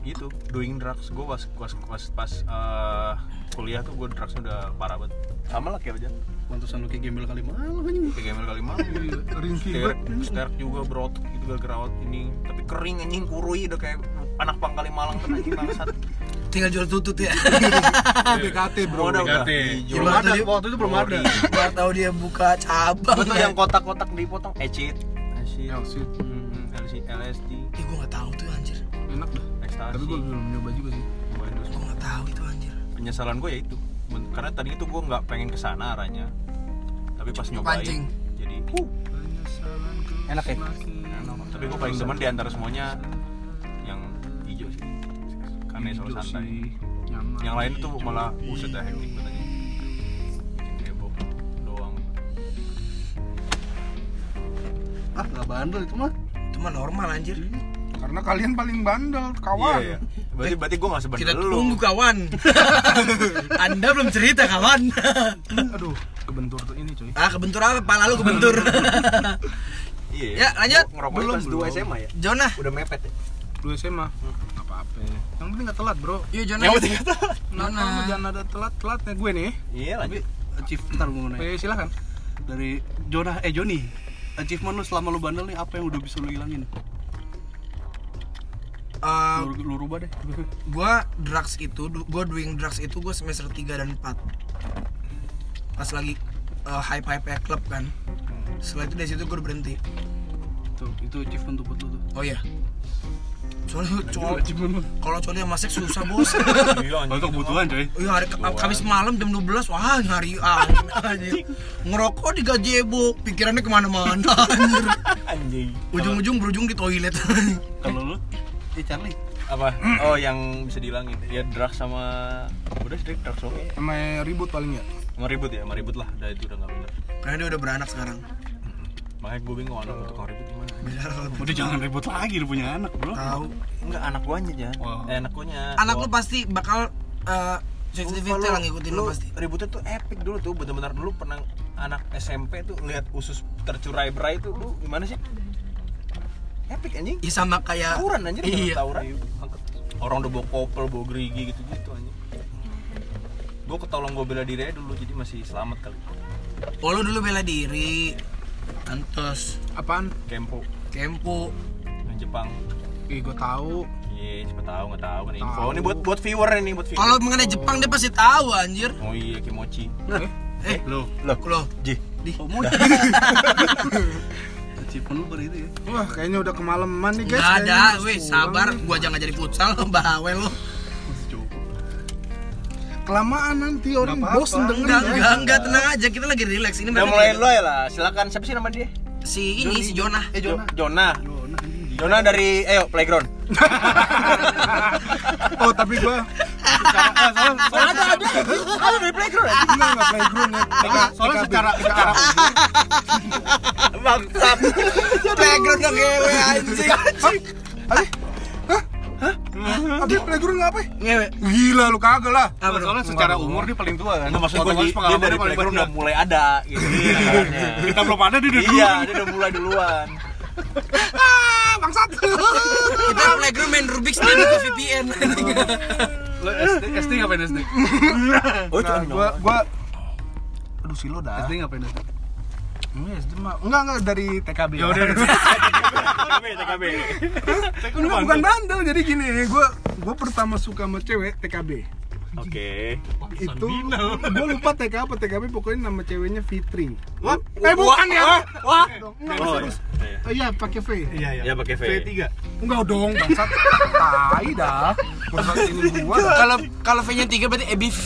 Speaker 6: Itu Gitu. doing drugs gua pas pas pas, pas eh, kuliah tuh gua drugs udah parah banget. Sama lah kayak aja.
Speaker 5: Pantesan lu kayak gembel kali malu anjing.
Speaker 6: Kayak gembel kali
Speaker 4: iya.
Speaker 6: malu.
Speaker 4: Ringki
Speaker 6: Sterk,
Speaker 4: banget.
Speaker 6: sterk juga berotot gitu gara-gara out ini tapi kering anjing kurui udah kayak anak pang kali malang kan anjing bangsat
Speaker 1: tinggal jual tutut ya
Speaker 4: Eh, BKT bro
Speaker 6: Modal udah.
Speaker 5: BKT.
Speaker 6: Dijual.
Speaker 1: Belum ada,
Speaker 5: waktu itu belum ada.
Speaker 1: nggak tahu dia buka cabang
Speaker 6: Lu tuh
Speaker 1: ya.
Speaker 6: yang kotak-kotak dipotong acid acid
Speaker 4: Iya.
Speaker 5: Acid.
Speaker 6: Mm, LC LSD
Speaker 1: Ih, gue nggak tahu tuh anjir
Speaker 5: Enak dah. Tapi
Speaker 6: ekstasi
Speaker 5: gue belum nyoba juga sih.
Speaker 6: Waduh,
Speaker 1: gue nggak tahu itu anjir
Speaker 6: penyesalan gue ya itu Men- karena tadi itu gue nggak pengen kesana arahnya tapi pas nyobain
Speaker 1: Kepancing.
Speaker 6: jadi uh,
Speaker 3: Enak ya?
Speaker 6: enak. tapi gue paling demen di antara semuanya yang hijau sih karena soal
Speaker 5: Jujur
Speaker 6: santai
Speaker 5: sih, nyaman.
Speaker 6: yang lain tuh malah buset dah hektik katanya bikin heboh doang
Speaker 5: ah nggak bandel itu mah.
Speaker 1: cuma normal anjir
Speaker 6: Hmm,
Speaker 4: karena kalian paling bandel kawan
Speaker 6: iya berarti berarti gue nggak
Speaker 1: kita
Speaker 6: sebenernya lu
Speaker 1: tunggu kawan anda belum cerita kawan
Speaker 5: Aduh, kebentur tuh ini coy.
Speaker 1: ah kebentur apa pala lu kebentur
Speaker 6: iya
Speaker 1: Ya, lanjut.
Speaker 6: Gua ngerokok
Speaker 5: Belum,
Speaker 6: kelas 2
Speaker 5: belum.
Speaker 6: SMA ya
Speaker 1: Jonah
Speaker 6: udah mepet ya
Speaker 5: Lu SMA. Enggak apa-apa. Yang penting nggak telat, Bro.
Speaker 1: yuk Jonah
Speaker 6: yang penting kata
Speaker 5: Nah,
Speaker 1: Nona.
Speaker 5: kamu jangan ada telat-telatnya gue nih.
Speaker 6: iya
Speaker 5: Tapi
Speaker 6: lanjut
Speaker 5: achievement gue mau nanya. Eh, silakan. Dari Jonah eh Joni, achievement lu selama lu bandel nih apa yang udah bisa lu hilangin?
Speaker 1: Eh,
Speaker 5: Lu, lu rubah deh.
Speaker 1: gua drugs itu du- gua doing drugs itu gua semester 3 dan 4 pas lagi eh, hype hype club kan setelah itu dari situ gua udah berhenti
Speaker 5: tuh, itu achievement tuh buat lu tuh.
Speaker 1: oh iya soalnya cowok
Speaker 5: achievement lu.
Speaker 1: kalau cowok yang masak susah bos
Speaker 6: Gila, anjing.
Speaker 5: Untuk kebutuhan, coy.
Speaker 1: Iya hari habis malam jam 12 wah hari ah, anjir. ngerokok digaji ibu pikirannya kemana-mana anjir.
Speaker 6: anjing
Speaker 1: ujung-ujung berujung di toilet
Speaker 5: Kalau lu, eh Charlie.
Speaker 6: apa oh yang bisa dihilangin ya drugs sama udah sih drugs oke
Speaker 4: sama ribut paling ya
Speaker 6: Mau ribut ya, mau ribut lah, udah itu udah gak bener
Speaker 1: karena dia udah beranak sekarang
Speaker 6: Makanya gue bingung anak untuk tukang ribut gimana
Speaker 1: Bener,
Speaker 5: Udah jangan ribut lagi lu punya anak, Bro.
Speaker 1: tahu
Speaker 6: Enggak, anak gue aja ya
Speaker 5: Wow.
Speaker 6: Eh, anak guanya
Speaker 1: anak lu pasti bakal eh, 50-50 lah ngikutin lu pasti
Speaker 6: Ributnya tuh epic dulu tuh, bener-bener dulu pernah anak SMP tuh lihat usus tercurai-berai tuh lu gimana sih? Epic anjing
Speaker 1: Ih Iya, sama kayak
Speaker 6: Tawuran anjir,
Speaker 1: Iya.
Speaker 6: bener tawuran Angkat. Orang udah bawa kopel, bawa gerigi gitu-gitu anjing Gue ketolong gue bela diri aja dulu, jadi masih selamat kali
Speaker 1: Oh lu dulu bela diri Antos
Speaker 4: apaan
Speaker 6: Kempo,
Speaker 1: Kempo
Speaker 6: yang Jepang
Speaker 4: ih gue tahu
Speaker 6: Iya, siapa tahu nggak tahu nih info.
Speaker 4: Tahu.
Speaker 6: Ini buat buat viewer nih, buat viewer.
Speaker 1: Kalau mengenai Jepang dia pasti tahu anjir
Speaker 6: Oh iya kimochi.
Speaker 1: Eh
Speaker 5: Lo,
Speaker 1: Lo
Speaker 6: J.
Speaker 5: kamu achievement lu pada itu ya.
Speaker 4: wah kayaknya udah kemalaman nih guys
Speaker 1: Nggak
Speaker 4: Kayaknya
Speaker 1: ada
Speaker 4: harus
Speaker 1: weh
Speaker 4: pulang
Speaker 1: sabar
Speaker 4: nih.
Speaker 1: Gua aja nggak jadi futsal lo bawel lo
Speaker 4: kelamaan nanti orang
Speaker 5: Nggak apa-apa.
Speaker 4: bosen dengerin
Speaker 1: Enggak,
Speaker 4: ya. guys.
Speaker 1: enggak, enggak, tenang aja. Kita lagi relax. Ini
Speaker 6: Udah
Speaker 1: mereka
Speaker 6: mulai
Speaker 1: relax.
Speaker 6: lo ya lah. Silakan. Siapa sih nama dia?
Speaker 1: si ini si Jonah.
Speaker 5: Eh Jonah.
Speaker 6: Jonah.
Speaker 5: Jonah anjing.
Speaker 6: Jonah dari ayo playground.
Speaker 4: oh tapi gue
Speaker 6: ada ada. Ada dari playground. anjing.
Speaker 4: enggak nggak playground ya
Speaker 5: ya? Soalnya- Soalnya secara secara
Speaker 6: Bangsat.
Speaker 1: Background dong ngewe anjing.
Speaker 4: tapi playground nggak apa ya?
Speaker 1: Ngewe.
Speaker 4: gila lu kagak lah
Speaker 1: Apa dong?
Speaker 5: soalnya secara umur dia paling tua kan.
Speaker 6: Enggak Nah, maksud gue dia, dia dari
Speaker 5: Otomatis pengalamannya paling
Speaker 6: playground udah
Speaker 5: banyak.
Speaker 6: mulai ada gitu. Iya.
Speaker 5: Kita belum ada dia udah
Speaker 6: Iya, dia udah mulai duluan.
Speaker 4: ah bangsat
Speaker 1: Kita playground main Rubik's dia buka VPN.
Speaker 5: Lo SD SD ngapain SD?
Speaker 6: Oh, itu
Speaker 4: nah, gue gue aduh silo dah
Speaker 5: SD ngapain SD?
Speaker 4: Hmm, SD mah enggak enggak dari TKB
Speaker 5: Ya udah.
Speaker 6: TKB, TKB.
Speaker 4: Enggak, bukan bandel jadi gini gue gue pertama suka sama cewek TKB
Speaker 6: Oke.
Speaker 5: Oh,
Speaker 4: itu gue lupa TK apa TKB pokoknya nama ceweknya Fitri
Speaker 6: Wah,
Speaker 4: eh bukan ya
Speaker 6: Wah.
Speaker 4: Dong, enggak
Speaker 6: Oh,
Speaker 4: serius
Speaker 6: iya.
Speaker 4: Oh, iya pakai V
Speaker 5: Iya
Speaker 6: Ya pakai V.
Speaker 4: enggak dong bangsat tai dah bangsat ini gua
Speaker 1: Kalau kalau V-nya 3 berarti EBV.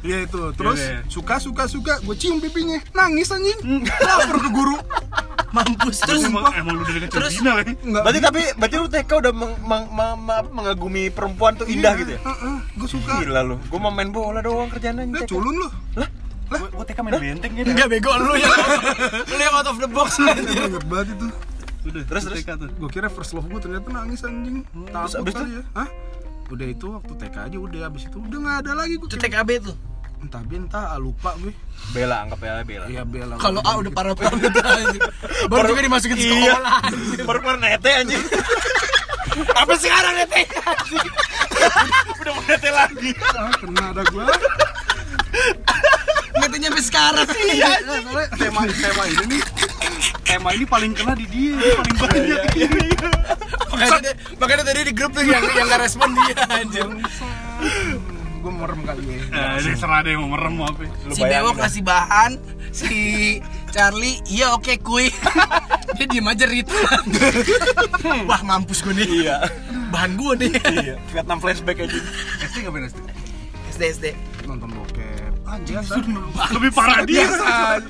Speaker 4: ya itu terus
Speaker 5: Iya, iya.
Speaker 4: suka suka suka gue cium pipinya nangis
Speaker 6: Hmm.
Speaker 4: anjing lapor ke guru
Speaker 1: Mampus terus.
Speaker 5: Emang emang lu dari kecil
Speaker 1: Terus-
Speaker 5: Cina kan?
Speaker 4: enggak
Speaker 6: Berarti tapi berarti lu TK udah meng, meng, meng- meng- apa, mengagumi perempuan tuh indah
Speaker 1: Iya.
Speaker 6: gitu ya?
Speaker 4: gue Iya. suka
Speaker 6: Gila lu, gua mau main bola doang kerjaan aja.
Speaker 4: Udah culun lu
Speaker 5: Gua TK main benteng gitu.
Speaker 1: Enggak bego lu ya. Lu yang out of the box.
Speaker 4: Ingat banget itu
Speaker 5: Udah,
Speaker 6: Terus,
Speaker 5: terus
Speaker 6: terus.
Speaker 5: TK tuh.
Speaker 4: Gue kira first love gue ternyata nangis anjing Takut
Speaker 6: Hmm, abis
Speaker 4: kali ya Hah? Udah itu waktu TK aja udah abis itu udah gak ada lagi gue
Speaker 1: Itu TKB tuh.
Speaker 4: Entah bin, entah ah, lupa gue
Speaker 6: Bela anggap ya Bela.
Speaker 4: Iya bela
Speaker 1: Kalau A udah parah banget Iya. anjing. Baru juga dimasukin sekolah.
Speaker 6: Baru keluar nete anjing.
Speaker 1: Apa sekarang nete?
Speaker 6: Udah mau nete lagi.
Speaker 4: Ah, Kena ada gue
Speaker 1: Netenya sampai sekarang.
Speaker 4: Iya, Soalnya tema, tema ini nih
Speaker 5: Tema ini paling kena di dia, dia paling banyak.
Speaker 1: makanya tadi- makanya tadi di grup tuh yang yang nggak respon dia anjir
Speaker 4: Gue merem kali ya.
Speaker 6: Nah,
Speaker 5: Ada Eh, serah deh mau merem mau apa. ya? Lu
Speaker 1: si bewok ngasih bahan si Charlie iya oke kuy dia diem aja Rita wah mampus gue nih
Speaker 6: Iya.
Speaker 1: bahan gue nih
Speaker 6: Iya. Vietnam flashback aja.
Speaker 5: SD ngapain SD?
Speaker 1: SD SD
Speaker 4: Nonton bokep. Iya, Anjing
Speaker 5: Lebih parah dia.
Speaker 6: Iya,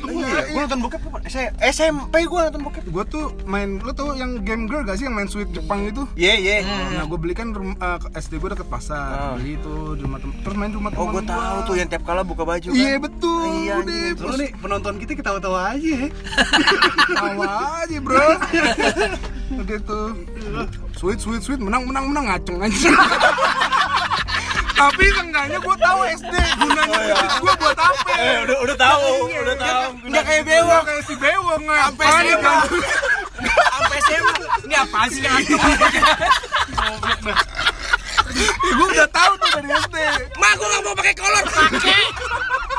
Speaker 6: gue nonton bokep kapan? S- SMP gue nonton bokep.
Speaker 4: Gue tuh main, lo tau yang game girl gak sih yang main sweet Jepang itu?
Speaker 6: Iya, iya.
Speaker 1: Hmm.
Speaker 4: Nah gue beli kan rum- eh, SD gue deket pasar,
Speaker 6: Ah.
Speaker 4: beli itu di rumah tem- terus main di rumah teman
Speaker 6: Oh, gue tahu tuh yang tiap kala buka baju
Speaker 4: Iya
Speaker 6: kan.
Speaker 4: betul,
Speaker 6: Iya,
Speaker 4: udah
Speaker 6: anjing.
Speaker 5: Lu nih penonton kita ketawa-tawa aja ya.
Speaker 4: Tawa aja bro Begitu
Speaker 6: Iya.
Speaker 4: Sweet sweet sweet menang menang menang ngaceng aja Tapi seenggaknya gue tahu SD gunanya
Speaker 6: Oh, iya.
Speaker 4: titik gue buat apa
Speaker 6: Eh, udah udah tahu, udah tahu.
Speaker 1: Iya, nggak kayak bewok
Speaker 4: Kayak si bewong
Speaker 1: sampai
Speaker 4: ngapain
Speaker 1: SMA
Speaker 4: kan?
Speaker 1: sampai SMA ini apa sih ngantuk
Speaker 4: Gue udah tahu tuh dari SD
Speaker 1: ma gue nggak mau pakai kolor pakai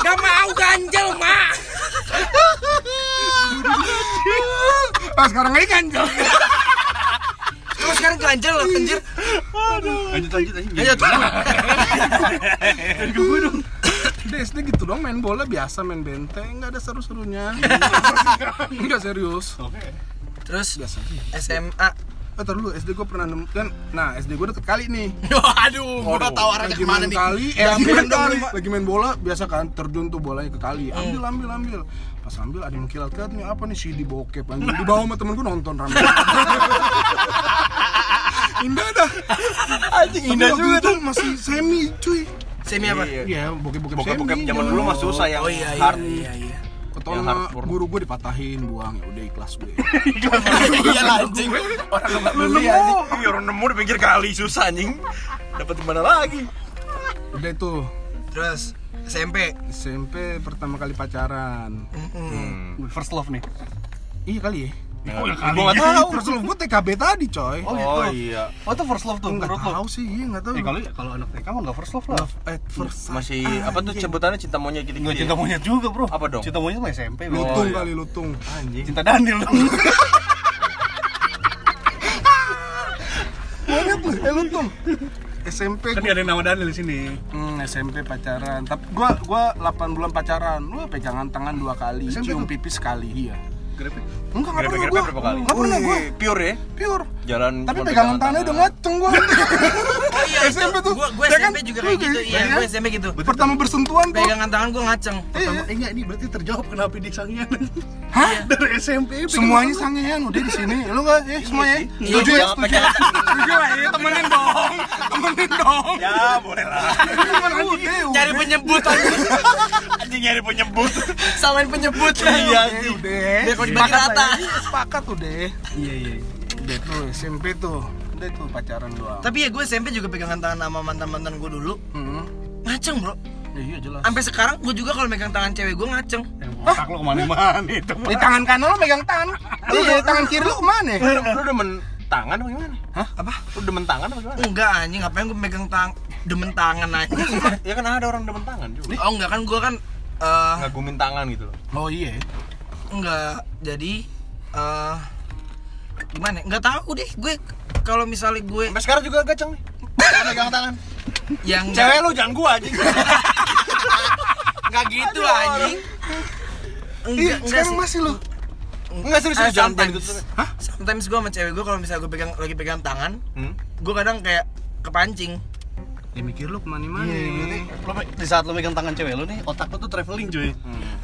Speaker 1: nggak mau ganjel ma
Speaker 4: Ah sekarang ini kan Jok.
Speaker 1: terus sekarang ganjel loh anjir
Speaker 5: Lanjut lanjut aja.
Speaker 1: ayo tuh
Speaker 4: Udah SD gitu dong main bola biasa main benteng Gak ada seru-serunya Enggak serius
Speaker 5: Oke.
Speaker 1: terus
Speaker 4: Oh, Biasa
Speaker 1: SMA
Speaker 4: Eh taruh dulu SD gue pernah nemu kan Nah SD gue deket kali nih
Speaker 1: aduh gue udah tahu arahnya
Speaker 4: lagi
Speaker 1: kemana
Speaker 4: main
Speaker 1: nih
Speaker 4: kali eh, lagi
Speaker 1: Ambil
Speaker 4: main
Speaker 1: dong,
Speaker 4: kali
Speaker 1: Pak.
Speaker 4: lagi main bola biasa kan terjun tuh bolanya ke kali ambil ambil ambil pas ambil ada yang kilat-kilat nih apa nih CD bokep anjing di bawah sama temen gue nonton rame indah dah
Speaker 6: Anjing
Speaker 4: Tapi waktu itu masih semi cuy
Speaker 1: semi apa
Speaker 4: Iya, bokep-bokep semi
Speaker 6: Bokep-bokep zaman dulu mah susah yang
Speaker 1: oh iya iya
Speaker 6: hard.
Speaker 1: iya iya
Speaker 6: yang
Speaker 4: Ketol sama
Speaker 6: hardcore.
Speaker 4: guru gue dipatahin, buang ya udah ikhlas gue
Speaker 1: iya lah, anjing
Speaker 6: Nemu, iya orang nemu di pinggir kali susah anjing. Dapat di mana lagi?
Speaker 4: Udah tuh,
Speaker 1: terus SMP
Speaker 4: SMP pertama kali pacaran
Speaker 5: First love nih.
Speaker 4: Iya kali ya? Iya,
Speaker 5: Oh,
Speaker 6: Gue
Speaker 5: ya kali.
Speaker 6: enggak tahu.
Speaker 4: Terus lu gue TKB tadi coy
Speaker 5: Oh, gitu.
Speaker 6: Oh iya.
Speaker 5: Oh, itu first love tuh
Speaker 4: Enggak
Speaker 5: menurut lo.
Speaker 4: tahu sih, iya nggak tahu
Speaker 5: Eh, kalau kalau anak TK mah enggak first love lah.
Speaker 4: Love at first sight.
Speaker 6: Masih apa tuh sebutannya cinta monyet gitu
Speaker 5: Enggak
Speaker 6: gitu.
Speaker 5: cinta monyet juga, Bro.
Speaker 6: Apa dong?
Speaker 5: Cinta monyet mah SMP, Bro.
Speaker 4: lutung
Speaker 6: iya.
Speaker 4: kali lutung
Speaker 6: anjing.
Speaker 5: Cinta Daniel dong.
Speaker 4: banyak lu eh lutung SMP
Speaker 5: kan
Speaker 4: gua,
Speaker 5: ada yang nama Daniel di sini.
Speaker 4: hmm, SMP pacaran tapi gua gua 8 bulan pacaran lu pegangan tangan dua kali
Speaker 5: SMP
Speaker 4: cium
Speaker 5: tuh?
Speaker 4: pipis sekali iya
Speaker 5: Grepe.
Speaker 4: enggak nggak pernah
Speaker 6: Grepe-grepe
Speaker 4: gua
Speaker 6: berapa kali?
Speaker 4: nggak pernah gua
Speaker 6: Wih, Pure ya.
Speaker 4: pure
Speaker 6: Jalan
Speaker 4: tapi
Speaker 6: bukan
Speaker 4: pegangan tangannya udah ngaceng gua
Speaker 1: oh iya
Speaker 4: SMP tuh,
Speaker 1: gue gue
Speaker 4: ya
Speaker 1: SMP
Speaker 4: kan?
Speaker 1: juga kayak gitu
Speaker 4: Iya,
Speaker 1: iya
Speaker 4: kan?
Speaker 1: gue SMP gitu
Speaker 4: pertama bersentuhan tuh Iya.
Speaker 1: pegangan tangan gue ngaceng
Speaker 5: Pertama, eh, enggak ini berarti terjawab kenapa dia sangian. Dari SMP
Speaker 4: semuanya sangean udah di sini lu nggak eh semuanya ya?
Speaker 1: Iya,
Speaker 4: setuju ya
Speaker 6: jangan
Speaker 4: setuju ya? setuju lah ya temenin dong temenin dong
Speaker 6: Ya, boleh lah.
Speaker 4: Temenin, udah udah
Speaker 1: cari penyebut anjing.
Speaker 6: Anjing nyari penyebut.
Speaker 1: samain penyebut
Speaker 6: Iya,
Speaker 4: Eh,
Speaker 6: anjing.
Speaker 4: udah
Speaker 1: Biar kalau dibagi
Speaker 4: Sepakat
Speaker 1: rata.
Speaker 4: lah ya. Iya, sepakat udah
Speaker 5: Iya, iya.
Speaker 4: Udah tuh SMP tuh Udah tuh pacaran doang
Speaker 1: tapi ya gue SMP juga pegangan tangan sama mantan mantan gue dulu
Speaker 4: hmm.
Speaker 1: ngaceng bro
Speaker 4: Ya, iya jelas
Speaker 1: sampai sekarang gue juga kalau megang tangan cewek gue ngaceng
Speaker 5: Yang Otak lo kemana-mana itu.
Speaker 4: Di tangan kanan lo megang tangan Lu dari tangan kiri lo kemana?
Speaker 6: Lu demen tangan apa gimana?
Speaker 4: Hah? Apa?
Speaker 6: Lu demen tangan apa gimana?
Speaker 1: enggak anjing ngapain gue megang tang demen tangan anjing
Speaker 6: Ya kan ada orang demen tangan juga.
Speaker 1: oh enggak kan gue kan eh,
Speaker 6: Ngagumin tangan gitu loh.
Speaker 4: Oh iya
Speaker 1: enggak jadi eh gimana ya? enggak tahu deh gue kalau misalnya gue
Speaker 6: Sampai sekarang juga gaceng nih. Pegang tangan.
Speaker 1: yang
Speaker 6: Cewek lu jangan gua anjing.
Speaker 1: enggak gitu anjing enggak
Speaker 4: Iya
Speaker 1: enggak
Speaker 4: sekarang
Speaker 1: sih.
Speaker 4: masih lo
Speaker 6: Enggak serius
Speaker 1: Ah,
Speaker 6: serius, jangan jangan
Speaker 1: sometimes.
Speaker 6: gitu.
Speaker 4: Hah?
Speaker 1: sometimes gue sama cewek gue kalau misalnya gue pegang lagi pegang tangan
Speaker 6: Hmm?
Speaker 1: gue kadang kayak kepancing
Speaker 4: Ya mikir lo kemana-mana iya.
Speaker 5: Lo pe- Di saat lo megang tangan cewek lo nih, otak lo tuh traveling cuy.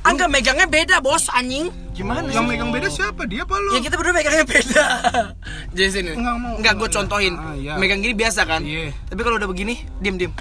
Speaker 1: Angga Ah, megangnya beda bos anjing
Speaker 6: Gimana
Speaker 4: Yang megang beda siapa? Dia apa lo?
Speaker 1: Ya kita berdua megangnya beda Jadi sini
Speaker 4: Enggak mau.
Speaker 1: Enggak gue contohin
Speaker 4: Ah, iya.
Speaker 1: Megang gini biasa kan
Speaker 4: Iya.
Speaker 1: Tapi kalau udah begini Diem diem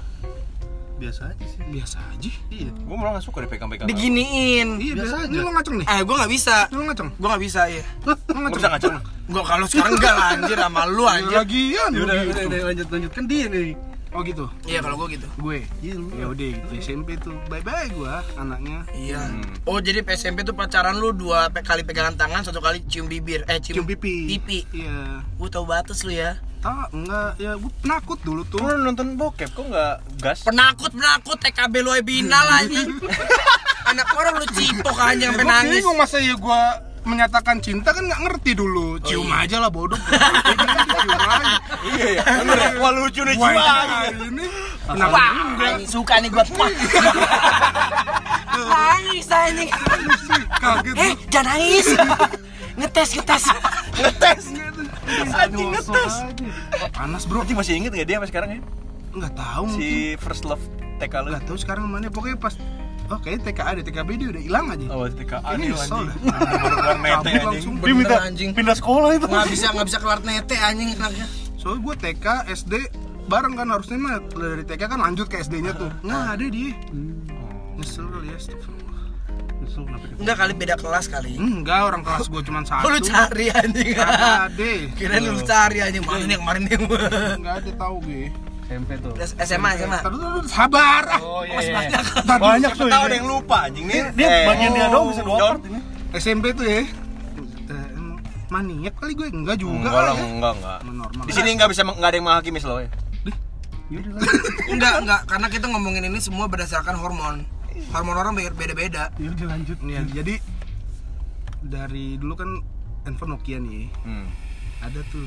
Speaker 5: Biasa aja sih.
Speaker 4: Biasa aja
Speaker 5: Iya.
Speaker 6: Gua malah enggak suka dipegang-pegang.
Speaker 1: Diginiin
Speaker 4: Iya
Speaker 5: Biasa
Speaker 4: biasa
Speaker 5: aja.
Speaker 4: aja Ini lo ngaceng nih?
Speaker 1: Ah gue gak bisa
Speaker 4: Ini Lo ngaceng?
Speaker 1: Gue gak bisa ya
Speaker 4: Lo
Speaker 6: Gua
Speaker 4: ngaceng?
Speaker 6: bisa ngaceng.
Speaker 1: Gue kalau sekarang enggak lah anjir sama lu
Speaker 4: Ya,
Speaker 1: anjir
Speaker 4: Lagian
Speaker 5: Ya
Speaker 4: lo
Speaker 5: udah,
Speaker 4: gitu.
Speaker 5: udah, udah, lanjut lanjutkan dia nih.
Speaker 4: Oh gitu?
Speaker 1: Iya kalau gue gitu
Speaker 4: Gue?
Speaker 5: Iya, lu.
Speaker 4: Ya udah gitu SMP tuh Bye-bye gue anaknya
Speaker 1: Iya Oh jadi SMP tuh pacaran lu dua pe- kali pegangan tangan Satu kali cium bibir Eh cium,
Speaker 4: Cium pipi
Speaker 1: Pipi
Speaker 4: Iya
Speaker 1: Gue tau batas lu ya
Speaker 4: Tak enggak ya gue penakut dulu tuh
Speaker 6: Lu nonton bokep kok enggak gas?
Speaker 1: Penakut penakut TKB lu binal anjing Anak orang lu cipok anjing sampai
Speaker 4: Gua
Speaker 1: nangis
Speaker 4: bingung masa ya gua menyatakan cinta kan nggak ngerti
Speaker 3: Oh,
Speaker 4: dulu cium aja lah bodoh kan cium aja
Speaker 3: Iya ya. Bener. Wah lucu nih
Speaker 4: Wah, kan.
Speaker 3: jiwa.
Speaker 4: hari ini kenapa
Speaker 1: Wah, anjing, suka nih gua. Pak. Nangis anjing.
Speaker 4: sih kaget
Speaker 1: Eh, jangan nangis. Ngetes, ngetes.
Speaker 3: Ngetes. Anjing
Speaker 4: Nyosok
Speaker 3: ngetes.
Speaker 4: Iya, aja. panas bro
Speaker 3: Anjing masih inget nggak dia sampai sekarang ya?
Speaker 4: nggak tahu
Speaker 3: Si
Speaker 4: mungkin
Speaker 3: first love TK lu.
Speaker 4: nggak tahu sekarang mana pokoknya pas oh kayaknya TKA ada TKB dia udah hilang aja
Speaker 6: Awas TKA
Speaker 4: ini
Speaker 6: nih
Speaker 4: nyesel
Speaker 6: anjing.
Speaker 4: dah
Speaker 6: Baru-baru nete
Speaker 4: Cabut
Speaker 6: anjing.
Speaker 4: langsung
Speaker 5: Dia
Speaker 1: Bener,
Speaker 5: minta
Speaker 1: anjing.
Speaker 5: pindah sekolah itu.
Speaker 1: Nggak bisa, nggak bisa kelar nete anjing anaknya.
Speaker 4: soalnya gue TK SD bareng kan harusnya mah dari TK kan lanjut ke SD nya tuh nggak ada dia nyesel kali ya astagfirullah.
Speaker 5: Nyesel kenapa dia?
Speaker 1: Enggak kali beda kelas kali.
Speaker 4: enggak orang kelas gue cuma satu
Speaker 1: Lu cari anjing.
Speaker 4: nggak ada
Speaker 1: Kirain lu cari anjing mana nih yang kemarin nih.
Speaker 4: nggak ada tahu gue
Speaker 5: SMP tuh.
Speaker 1: SMA, SMA.
Speaker 4: Taruh, taruh, taruh, sabar ah.
Speaker 5: Oh iya.
Speaker 1: Masih
Speaker 5: iya.
Speaker 1: banyak.
Speaker 5: Banyak tuh.
Speaker 3: Tahu ada
Speaker 5: ini.
Speaker 3: yang lupa anjing nih.
Speaker 5: Dia
Speaker 3: Eh,
Speaker 5: bagian dia doang bisa dua
Speaker 3: John.
Speaker 5: part ini.
Speaker 4: SMP tuh ya Eh, maniak kali gue enggak juga
Speaker 6: Enggak lah,
Speaker 4: lah ya.
Speaker 6: enggak, enggak.
Speaker 4: normal
Speaker 3: Di sini nggak bisa nggak ada yang menghakimi slow ya.
Speaker 5: Yaudah lanjut.
Speaker 1: Enggak, enggak, karena kita ngomongin ini semua berdasarkan hormon. Hormon orang beda-beda.
Speaker 5: Yaudah lanjut.
Speaker 4: Nih, jadi dari dulu kan handphone Nokia nih
Speaker 6: Hmm.
Speaker 4: ada tuh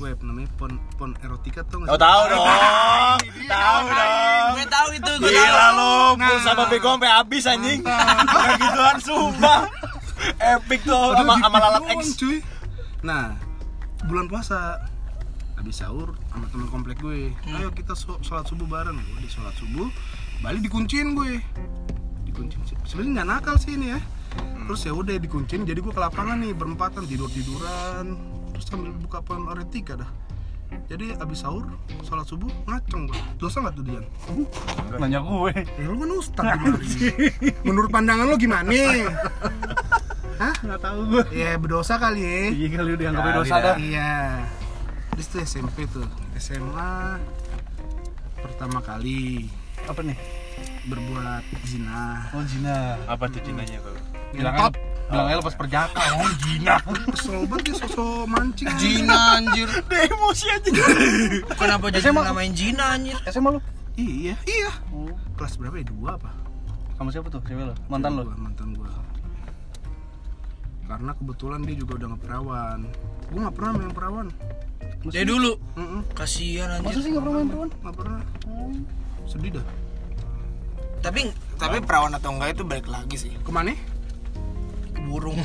Speaker 4: web namanya pon pon erotika tuh
Speaker 3: Oh tahu dong. Tahu dong.
Speaker 1: Gue tahu itu, gue tahu.
Speaker 3: Gila lo, pulsa sama bego sampai habis anjing. Kayak gituan sumpah. Epic tuh sama sama lalat X.
Speaker 4: cuy nah bulan puasa habis sahur sama teman komplek gue
Speaker 3: Hmm.
Speaker 4: ayo kita so- sholat subuh bareng gue di sholat subuh balik dikunciin gue dikunciin sebenarnya nggak nakal sih ini ya
Speaker 3: Hmm.
Speaker 4: terus ya udah dikunciin jadi gue ke lapangan nih berempatan tidur tiduran terus sambil buka pon erotika dah jadi abis sahur sholat subuh ngaceng gue dosa nggak tuh Dian?
Speaker 5: Nanya gue.
Speaker 4: Ya lu kan ustaz gimana? Menurut pandangan lu gimana? Hah?
Speaker 5: Enggak tahu gue.
Speaker 4: Ya berdosa kali ya.
Speaker 5: Iya kali udah anggap
Speaker 6: Kali
Speaker 5: dosa
Speaker 6: dah.
Speaker 5: dah.
Speaker 4: Iya. Terus tuh SMP tuh, SMA pertama kali
Speaker 5: Apa nih?
Speaker 4: berbuat zina.
Speaker 5: Oh Jina.
Speaker 6: Apa tuh jinanya kalau?
Speaker 5: Bilang
Speaker 4: Ngentot.
Speaker 5: aja- bilang aja lepas perjaka. Oh Jina.
Speaker 4: Kesel banget ya sosok mancing.
Speaker 1: Jina anjir.
Speaker 3: Dia emosi anjing.
Speaker 1: Kenapa jadi namain Jina anjir?
Speaker 5: SMA lu?
Speaker 4: Iya, iya.
Speaker 5: Oh.
Speaker 4: Kelas berapa ya? Dua apa?
Speaker 5: Sama siapa tuh? Cewek lo? Mantan lo?
Speaker 4: Gua, mantan gua. Karena kebetulan dia juga udah ngeperawan. Gua nggak pernah main perawan.
Speaker 1: Dari dulu.
Speaker 4: Mm-mm.
Speaker 1: Kasihan
Speaker 5: Masa
Speaker 1: anjir.
Speaker 5: sih nggak pernah main perawan?
Speaker 4: nggak pernah sedih dah
Speaker 1: Tapi
Speaker 2: tapi perawan atau enggak itu balik lagi sih
Speaker 4: kemana
Speaker 1: burung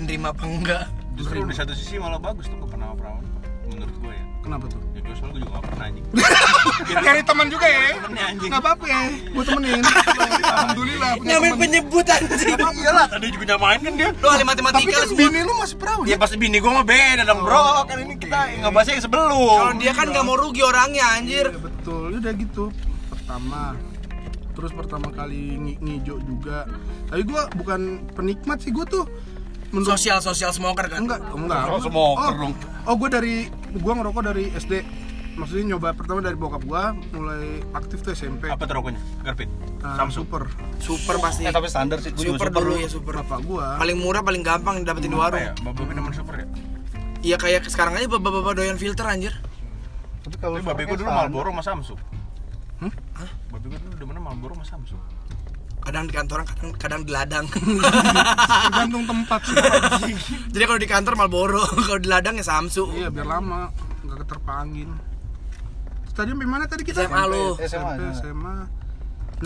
Speaker 1: nerima apa enggak
Speaker 6: Justru di satu sisi malah bagus tuh gak pernah sama perawan. Menurut gue ya.
Speaker 4: kenapa tuh
Speaker 6: Ya gue soalnya gue juga gak pernah anjing.
Speaker 4: cari teman juga ya
Speaker 6: Temennya anjing.
Speaker 4: nggak apa-apa ya gue temenin alhamdulillah punya
Speaker 1: nyamain
Speaker 4: temen.
Speaker 1: penyebut anjing
Speaker 6: Iya
Speaker 3: Iyalah tadi juga nyamain kan dia.
Speaker 1: lo ahli
Speaker 4: tapi
Speaker 1: matematika
Speaker 4: kan
Speaker 1: lu semua
Speaker 4: bini lu masih perawan
Speaker 3: Ya pasti bini gua mah beda dong bro. Kan ini
Speaker 6: Iya.
Speaker 3: kita ngebahasnya yang
Speaker 1: kalau
Speaker 3: sebelum.
Speaker 1: dia kan nggak mau rugi orangnya anjir
Speaker 4: Iya, betul udah gitu pertama terus pertama kali ngi- ngijo juga tapi gue bukan penikmat sih gue tuh menurut
Speaker 1: sosial sosial smoker kan
Speaker 4: enggak enggak
Speaker 5: Oh,
Speaker 4: Gua-
Speaker 5: smoker
Speaker 4: oh,
Speaker 5: dong.
Speaker 4: oh gue dari gue ngerokok dari SD maksudnya nyoba pertama dari bokap gue mulai aktif tuh SMP
Speaker 6: Apa tuh rokoknya? Garpit.
Speaker 4: Ah,
Speaker 6: Samsung.
Speaker 4: super
Speaker 1: super pasti
Speaker 3: Iya,
Speaker 5: Eh tapi standar sih. Gue juga
Speaker 1: super
Speaker 5: super
Speaker 1: dulu
Speaker 5: lu.
Speaker 1: ya super
Speaker 4: bapak gue
Speaker 1: paling murah paling gampang dapetin di
Speaker 6: Apa
Speaker 1: warung
Speaker 6: ya? Bapak nomor super ya?
Speaker 1: iya kayak sekarang aja bapak-bapak doyan filter anjir
Speaker 5: Tapi kalau
Speaker 6: Tapi babe gue dulu
Speaker 5: standar.
Speaker 6: Marlboro sama Samsung. Hah? Babe gue dulu demennya Marlboro sama Samsung.
Speaker 1: kadang di kantoran kadang kadang di ladang
Speaker 4: tergantung tempat sih
Speaker 1: jadi kalau di kantor Marlboro kalau di ladang ya Samsu
Speaker 4: Iya biar lama nggak keterpangin. Stadion di mana tadi kita?
Speaker 1: SMA lu
Speaker 5: SMA.
Speaker 4: SMP, SMA.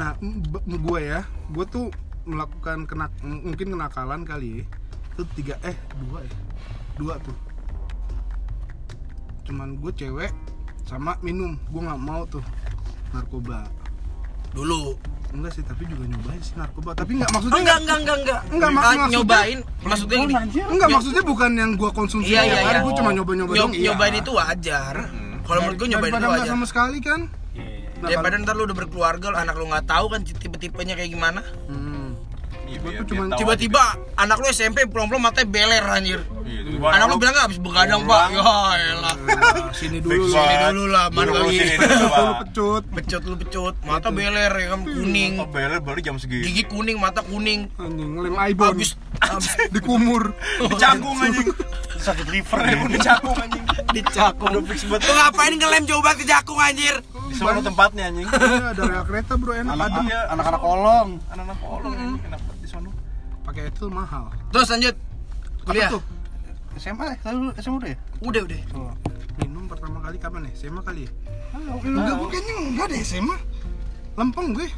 Speaker 4: Nah, gue ya, gue tuh melakukan kenak m- mungkin kenakalan kali ya. Itu tiga eh dua ya, dua tuh. Cuman gue cewek sama minum, gue nggak mau tuh narkoba.
Speaker 1: dulu
Speaker 4: Enggak sih, tapi juga nyobain sih narkoba. Tapi nggak maksudnya kan-
Speaker 1: enggak enggak enggak enggak
Speaker 4: Enggak,
Speaker 1: Ah,
Speaker 4: mak- maksudnya-
Speaker 1: nyobain maksudnya gini
Speaker 4: Enggak maksudnya bukan yang gue konsumsi.
Speaker 1: Iya, iya,
Speaker 4: tiap hari,
Speaker 1: iya.
Speaker 4: Gue Kan cuma nyoba-nyoba
Speaker 1: nyob-
Speaker 4: doang. iya.
Speaker 1: nyobain itu wajar kalau menurut gue nyobain Iya,
Speaker 4: Daripada
Speaker 1: itu
Speaker 4: nggak
Speaker 1: wajar
Speaker 4: sama sekali kan.
Speaker 6: Iya,
Speaker 4: Nah,
Speaker 1: daripada ntar lu udah berkeluarga lu- anak lu nggak tahu kan tipe-tipenya kayak gimana
Speaker 4: Hmm.
Speaker 6: Iya,
Speaker 4: Gua
Speaker 6: biar-
Speaker 4: tuh
Speaker 6: biar
Speaker 4: cuman-
Speaker 6: tahu
Speaker 1: tiba-tiba anak lu SMP pulang-pulang matanya beler anjir
Speaker 6: Iya,
Speaker 1: anak lu bilang nggak habis begadang pak ya elah
Speaker 4: Nah, sini dulu
Speaker 6: Fix
Speaker 4: lah.
Speaker 6: banget. Iya,
Speaker 1: dulu lah, mana
Speaker 6: Dulu
Speaker 1: lagi.
Speaker 6: sini dulu,
Speaker 4: Dulu
Speaker 6: Pak.
Speaker 4: pecut.
Speaker 1: pecut lu pecut mata beler ya kan kuning
Speaker 6: Oh, beler baru jam segini.
Speaker 1: gigi kuning mata kuning
Speaker 4: Anjing lem ibon.
Speaker 1: habis habis
Speaker 4: dikumur.
Speaker 3: Dicanggung anjing.
Speaker 5: Sakit liver ya.
Speaker 3: Rem dicanggung anjing.
Speaker 1: dicakung
Speaker 3: Udah fix banget.
Speaker 1: lu ngapain ngelem jauh banget ke jakung anjir
Speaker 6: Di sono tempatnya anjing.
Speaker 4: Iya, ada rel kereta bro enak
Speaker 5: Anak-
Speaker 4: ada.
Speaker 6: Iya.
Speaker 5: Anak-anak kolong.
Speaker 6: Anak-anak kolong anjing kenapa di sono?
Speaker 4: Pakai itu mahal.
Speaker 1: terus lanjut kuliah
Speaker 4: tuh?
Speaker 5: SMA, lalu SMA udah ya?
Speaker 1: udah udah
Speaker 5: Oh.
Speaker 4: Minum pertama kali kapan ya? SMA kali ya?
Speaker 5: Ah,
Speaker 4: enggak, gue kayaknya enggak deh SMA Lempeng gue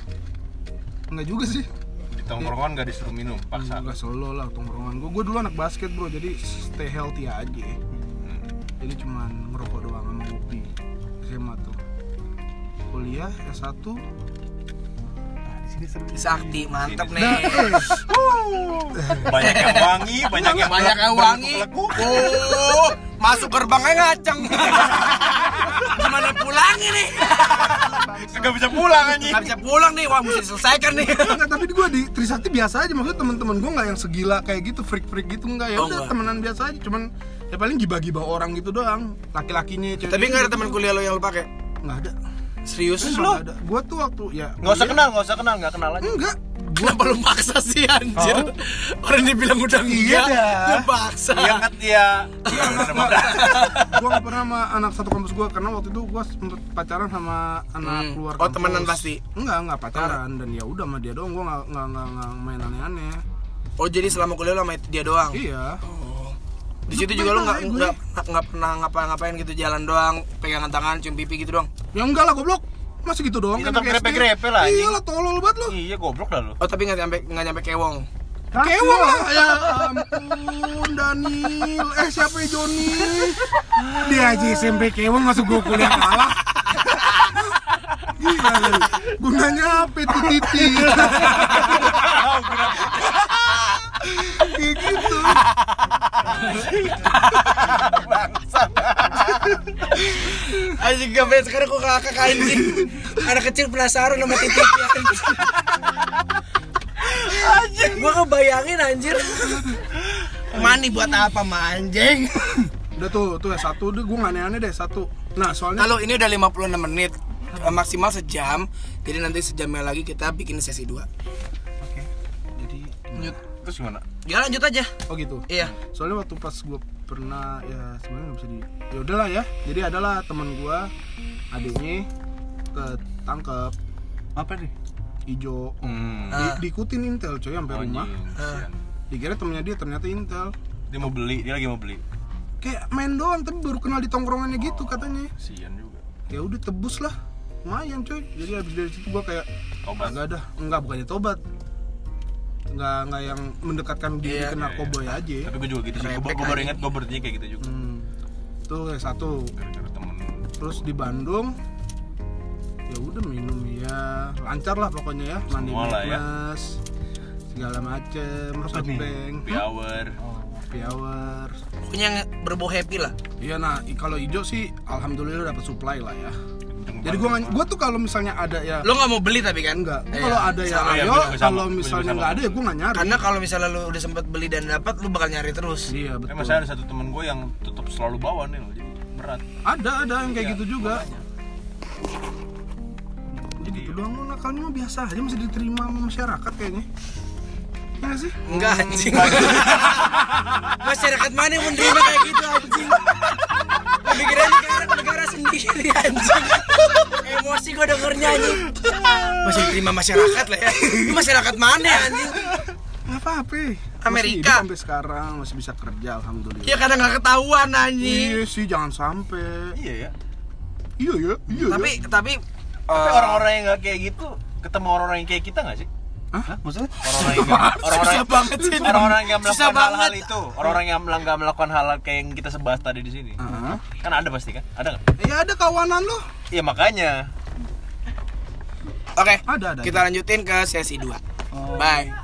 Speaker 4: Enggak juga sih
Speaker 6: Di tongkrongan gak disuruh minum, paksa.
Speaker 4: Enggak solo lah tongkrongan gue Gue dulu anak basket bro, jadi stay healthy aja
Speaker 2: Hmm.
Speaker 4: Jadi cuman ngerokok doang sama ngopi SMA tuh Kuliah S1
Speaker 1: Sakti mantep
Speaker 4: Nah,
Speaker 1: nih
Speaker 4: Eh,
Speaker 6: Banyak yang wangi, banyak yang
Speaker 1: banyak yang wangi oh masuk gerbangnya ngaceng gimana pulangnya nih
Speaker 6: Gak bisa pulang anjing.
Speaker 1: nggak bisa pulang nih wah mesti diselesaikan nih
Speaker 4: Enggak, tapi gue di Trisakti biasa aja Maksudnya temen-temen gue nggak yang segila kayak gitu Freak-freak gitu enggak ya
Speaker 1: Oh,
Speaker 4: udah
Speaker 1: enggak.
Speaker 4: temenan biasa aja Cuman ya paling gibah-gibah orang gitu doang Laki-lakinya cewek
Speaker 2: Tapi nggak ada teman kuliah lo yang lo pakai?
Speaker 4: Nggak ada
Speaker 1: serius
Speaker 4: Nggak ada Gue tuh waktu ya
Speaker 3: Nggak usah kenal, nggak usah kenal, nggak kenal aja.
Speaker 4: Enggak
Speaker 1: Kenapa lu maksa sih anjir?
Speaker 2: Oh.
Speaker 1: Orang dibilang udah
Speaker 2: Iya
Speaker 1: enggak, lu paksa.
Speaker 6: Ingat ya.
Speaker 4: gue gak pernah sama anak satu kampus gue karena waktu itu gue sempet pacaran sama anak
Speaker 2: Hmm.
Speaker 4: keluar
Speaker 2: Oh,
Speaker 4: kampus.
Speaker 2: temenan pasti?
Speaker 4: enggak enggak pacaran dan ya udah sama dia doang gue nggak nggak nggak nggak main aneh-aneh
Speaker 2: Oh jadi selama kuliah lo sama dia doang?
Speaker 4: iya
Speaker 2: Di situ juga lo nggak nggak nggak pernah ngapa-ngapain gitu jalan doang, pegangan tangan, cium pipi gitu doang.
Speaker 4: ya enggak lah goblok masih gitu doang
Speaker 3: Iya,
Speaker 4: kayak anak
Speaker 3: tetap
Speaker 4: SD.
Speaker 3: grepe-grepe lah, anjing.
Speaker 4: iya lah tolol banget lo
Speaker 3: Iya, goblok dah lu.
Speaker 2: Oh tapi nggak nyampe nggak nyampe kewong.
Speaker 4: kewong lah ya ampun Daniel eh siapa ya Joni dia aja SMP kewong masuk gue kuliah kalah Gila lu, gunanya apa itu titik? Kayak gitu
Speaker 1: Anjing gampang sekarang kok kakak anjing. Anak kecil penasaran sama titiknya. Anjing. Gua kebayangin anjir. Mani buat apa ma anjing?
Speaker 4: Udah tuh, tuh ya satu, udah gue nggak aneh-aneh deh satu Nah soalnya
Speaker 2: Kalau ini udah 56 menit eh, maksimal sejam, jadi nanti sejamnya lagi kita bikin sesi 2
Speaker 6: Terus gimana?
Speaker 1: Ya lanjut aja.
Speaker 4: Oh gitu.
Speaker 1: Iya.
Speaker 4: Soalnya waktu pas gue pernah ya sebenarnya nggak bisa di. Ya udahlah ya. Jadi adalah teman gue adiknya ketangkep
Speaker 5: Apa nih? Ah.
Speaker 4: ijo
Speaker 6: Hmm.
Speaker 4: Di- diikutin intel coy sampai rumah
Speaker 6: anjing,
Speaker 1: Eh,
Speaker 6: kasihan.
Speaker 4: dikira temennya dia ternyata intel
Speaker 6: Dia mau beli, dia lagi mau beli.
Speaker 4: kayak main doang tapi baru kenal di tongkrongannya gitu katanya
Speaker 6: Sian juga.
Speaker 4: ya udah tebus lah lumayan coy jadi habis dari situ gue kayak
Speaker 6: Tobat.
Speaker 4: agak ada enggak bukannya tobat nggak nggak yang mendekatkan diri
Speaker 5: Iya,
Speaker 4: ke narkoba aja
Speaker 1: ya.
Speaker 6: Tapi gue juga gitu sih. Gue baru ingat gue berarti kayak gitu juga.
Speaker 4: hmm. tuh kayak satu
Speaker 6: Gara-gara temen.
Speaker 4: terus di Bandung ya udah minum ya lancar lah pokoknya ya mandi
Speaker 6: Semua lah ya.
Speaker 4: fitness segala macem
Speaker 6: Happy
Speaker 4: shopping
Speaker 6: hour.
Speaker 4: happy hour
Speaker 1: Pokoknya yang berbau happy lah.
Speaker 4: iya nah i- kalau ijo sih alhamdulillah dapat supply lah ya
Speaker 6: Kenceng
Speaker 4: jadi
Speaker 6: banget.
Speaker 4: gua nggak- gua tuh kalau misalnya ada ya
Speaker 1: Lo nggak mau beli tapi kan?
Speaker 4: enggak Gua
Speaker 1: Iya.
Speaker 4: kalau ada ya
Speaker 6: Sama, ya, gua
Speaker 4: ayo
Speaker 6: juga sama,
Speaker 4: kalau
Speaker 6: gua juga
Speaker 4: misalnya
Speaker 6: sama. Iya,
Speaker 4: nggak ada ya gua nggak nyari
Speaker 1: Karena kalau misalnya lu udah sempet beli dan dapat, lu bakal nyari terus.
Speaker 6: Eh,
Speaker 4: iya betul
Speaker 6: masih ada satu temen gue yang tetap selalu bawa nih loh, jadi berat.
Speaker 4: ada ada yang
Speaker 6: Iya,
Speaker 4: kayak gitu juga jadi
Speaker 6: iya.
Speaker 4: gitu doang lo nakalnya mah biasa aja masih diterima sama masyarakat kayaknya Iya nggak sih
Speaker 1: Enggak anjing. Masyarakat mana yang menerima kayak gitu anjing? Pikiran negara negara sendiri anjing. Emosi gue dengernya anjing. Masih diterima masyarakat lah ya. Lu Masyarakat mana anjing?
Speaker 4: nggak apa-apa
Speaker 1: Amerika.
Speaker 4: masih hidup sampai sekarang masih bisa kerja alhamdulillah
Speaker 1: Ya kadang nggak ketahuan anjing.
Speaker 4: iya sih jangan sampai
Speaker 5: Iya ya.
Speaker 4: iya ya iya
Speaker 1: Tapi
Speaker 4: ya.
Speaker 1: tapi
Speaker 5: Tapi
Speaker 1: eh,
Speaker 5: orang-orang yang nggak kayak gitu ketemu orang-orang yang kayak kita nggak sih? Hah? Maksudnya? Orang-orang yang orang-orang
Speaker 1: susah banget sih.
Speaker 5: orang-orang yang
Speaker 1: Susah
Speaker 5: melakukan hal-hal
Speaker 1: banget.
Speaker 5: itu, orang-orang yang melang- nggak melakukan hal-hal kayak yang kita sebahas tadi di sini,
Speaker 4: Ah.
Speaker 5: kan ada pasti kan? Ada nggak?
Speaker 4: ya ada kawanan lo
Speaker 5: Iya makanya.
Speaker 2: Oke,
Speaker 4: Ada, ada,
Speaker 2: kita lanjutin ke sesi 2 Bye.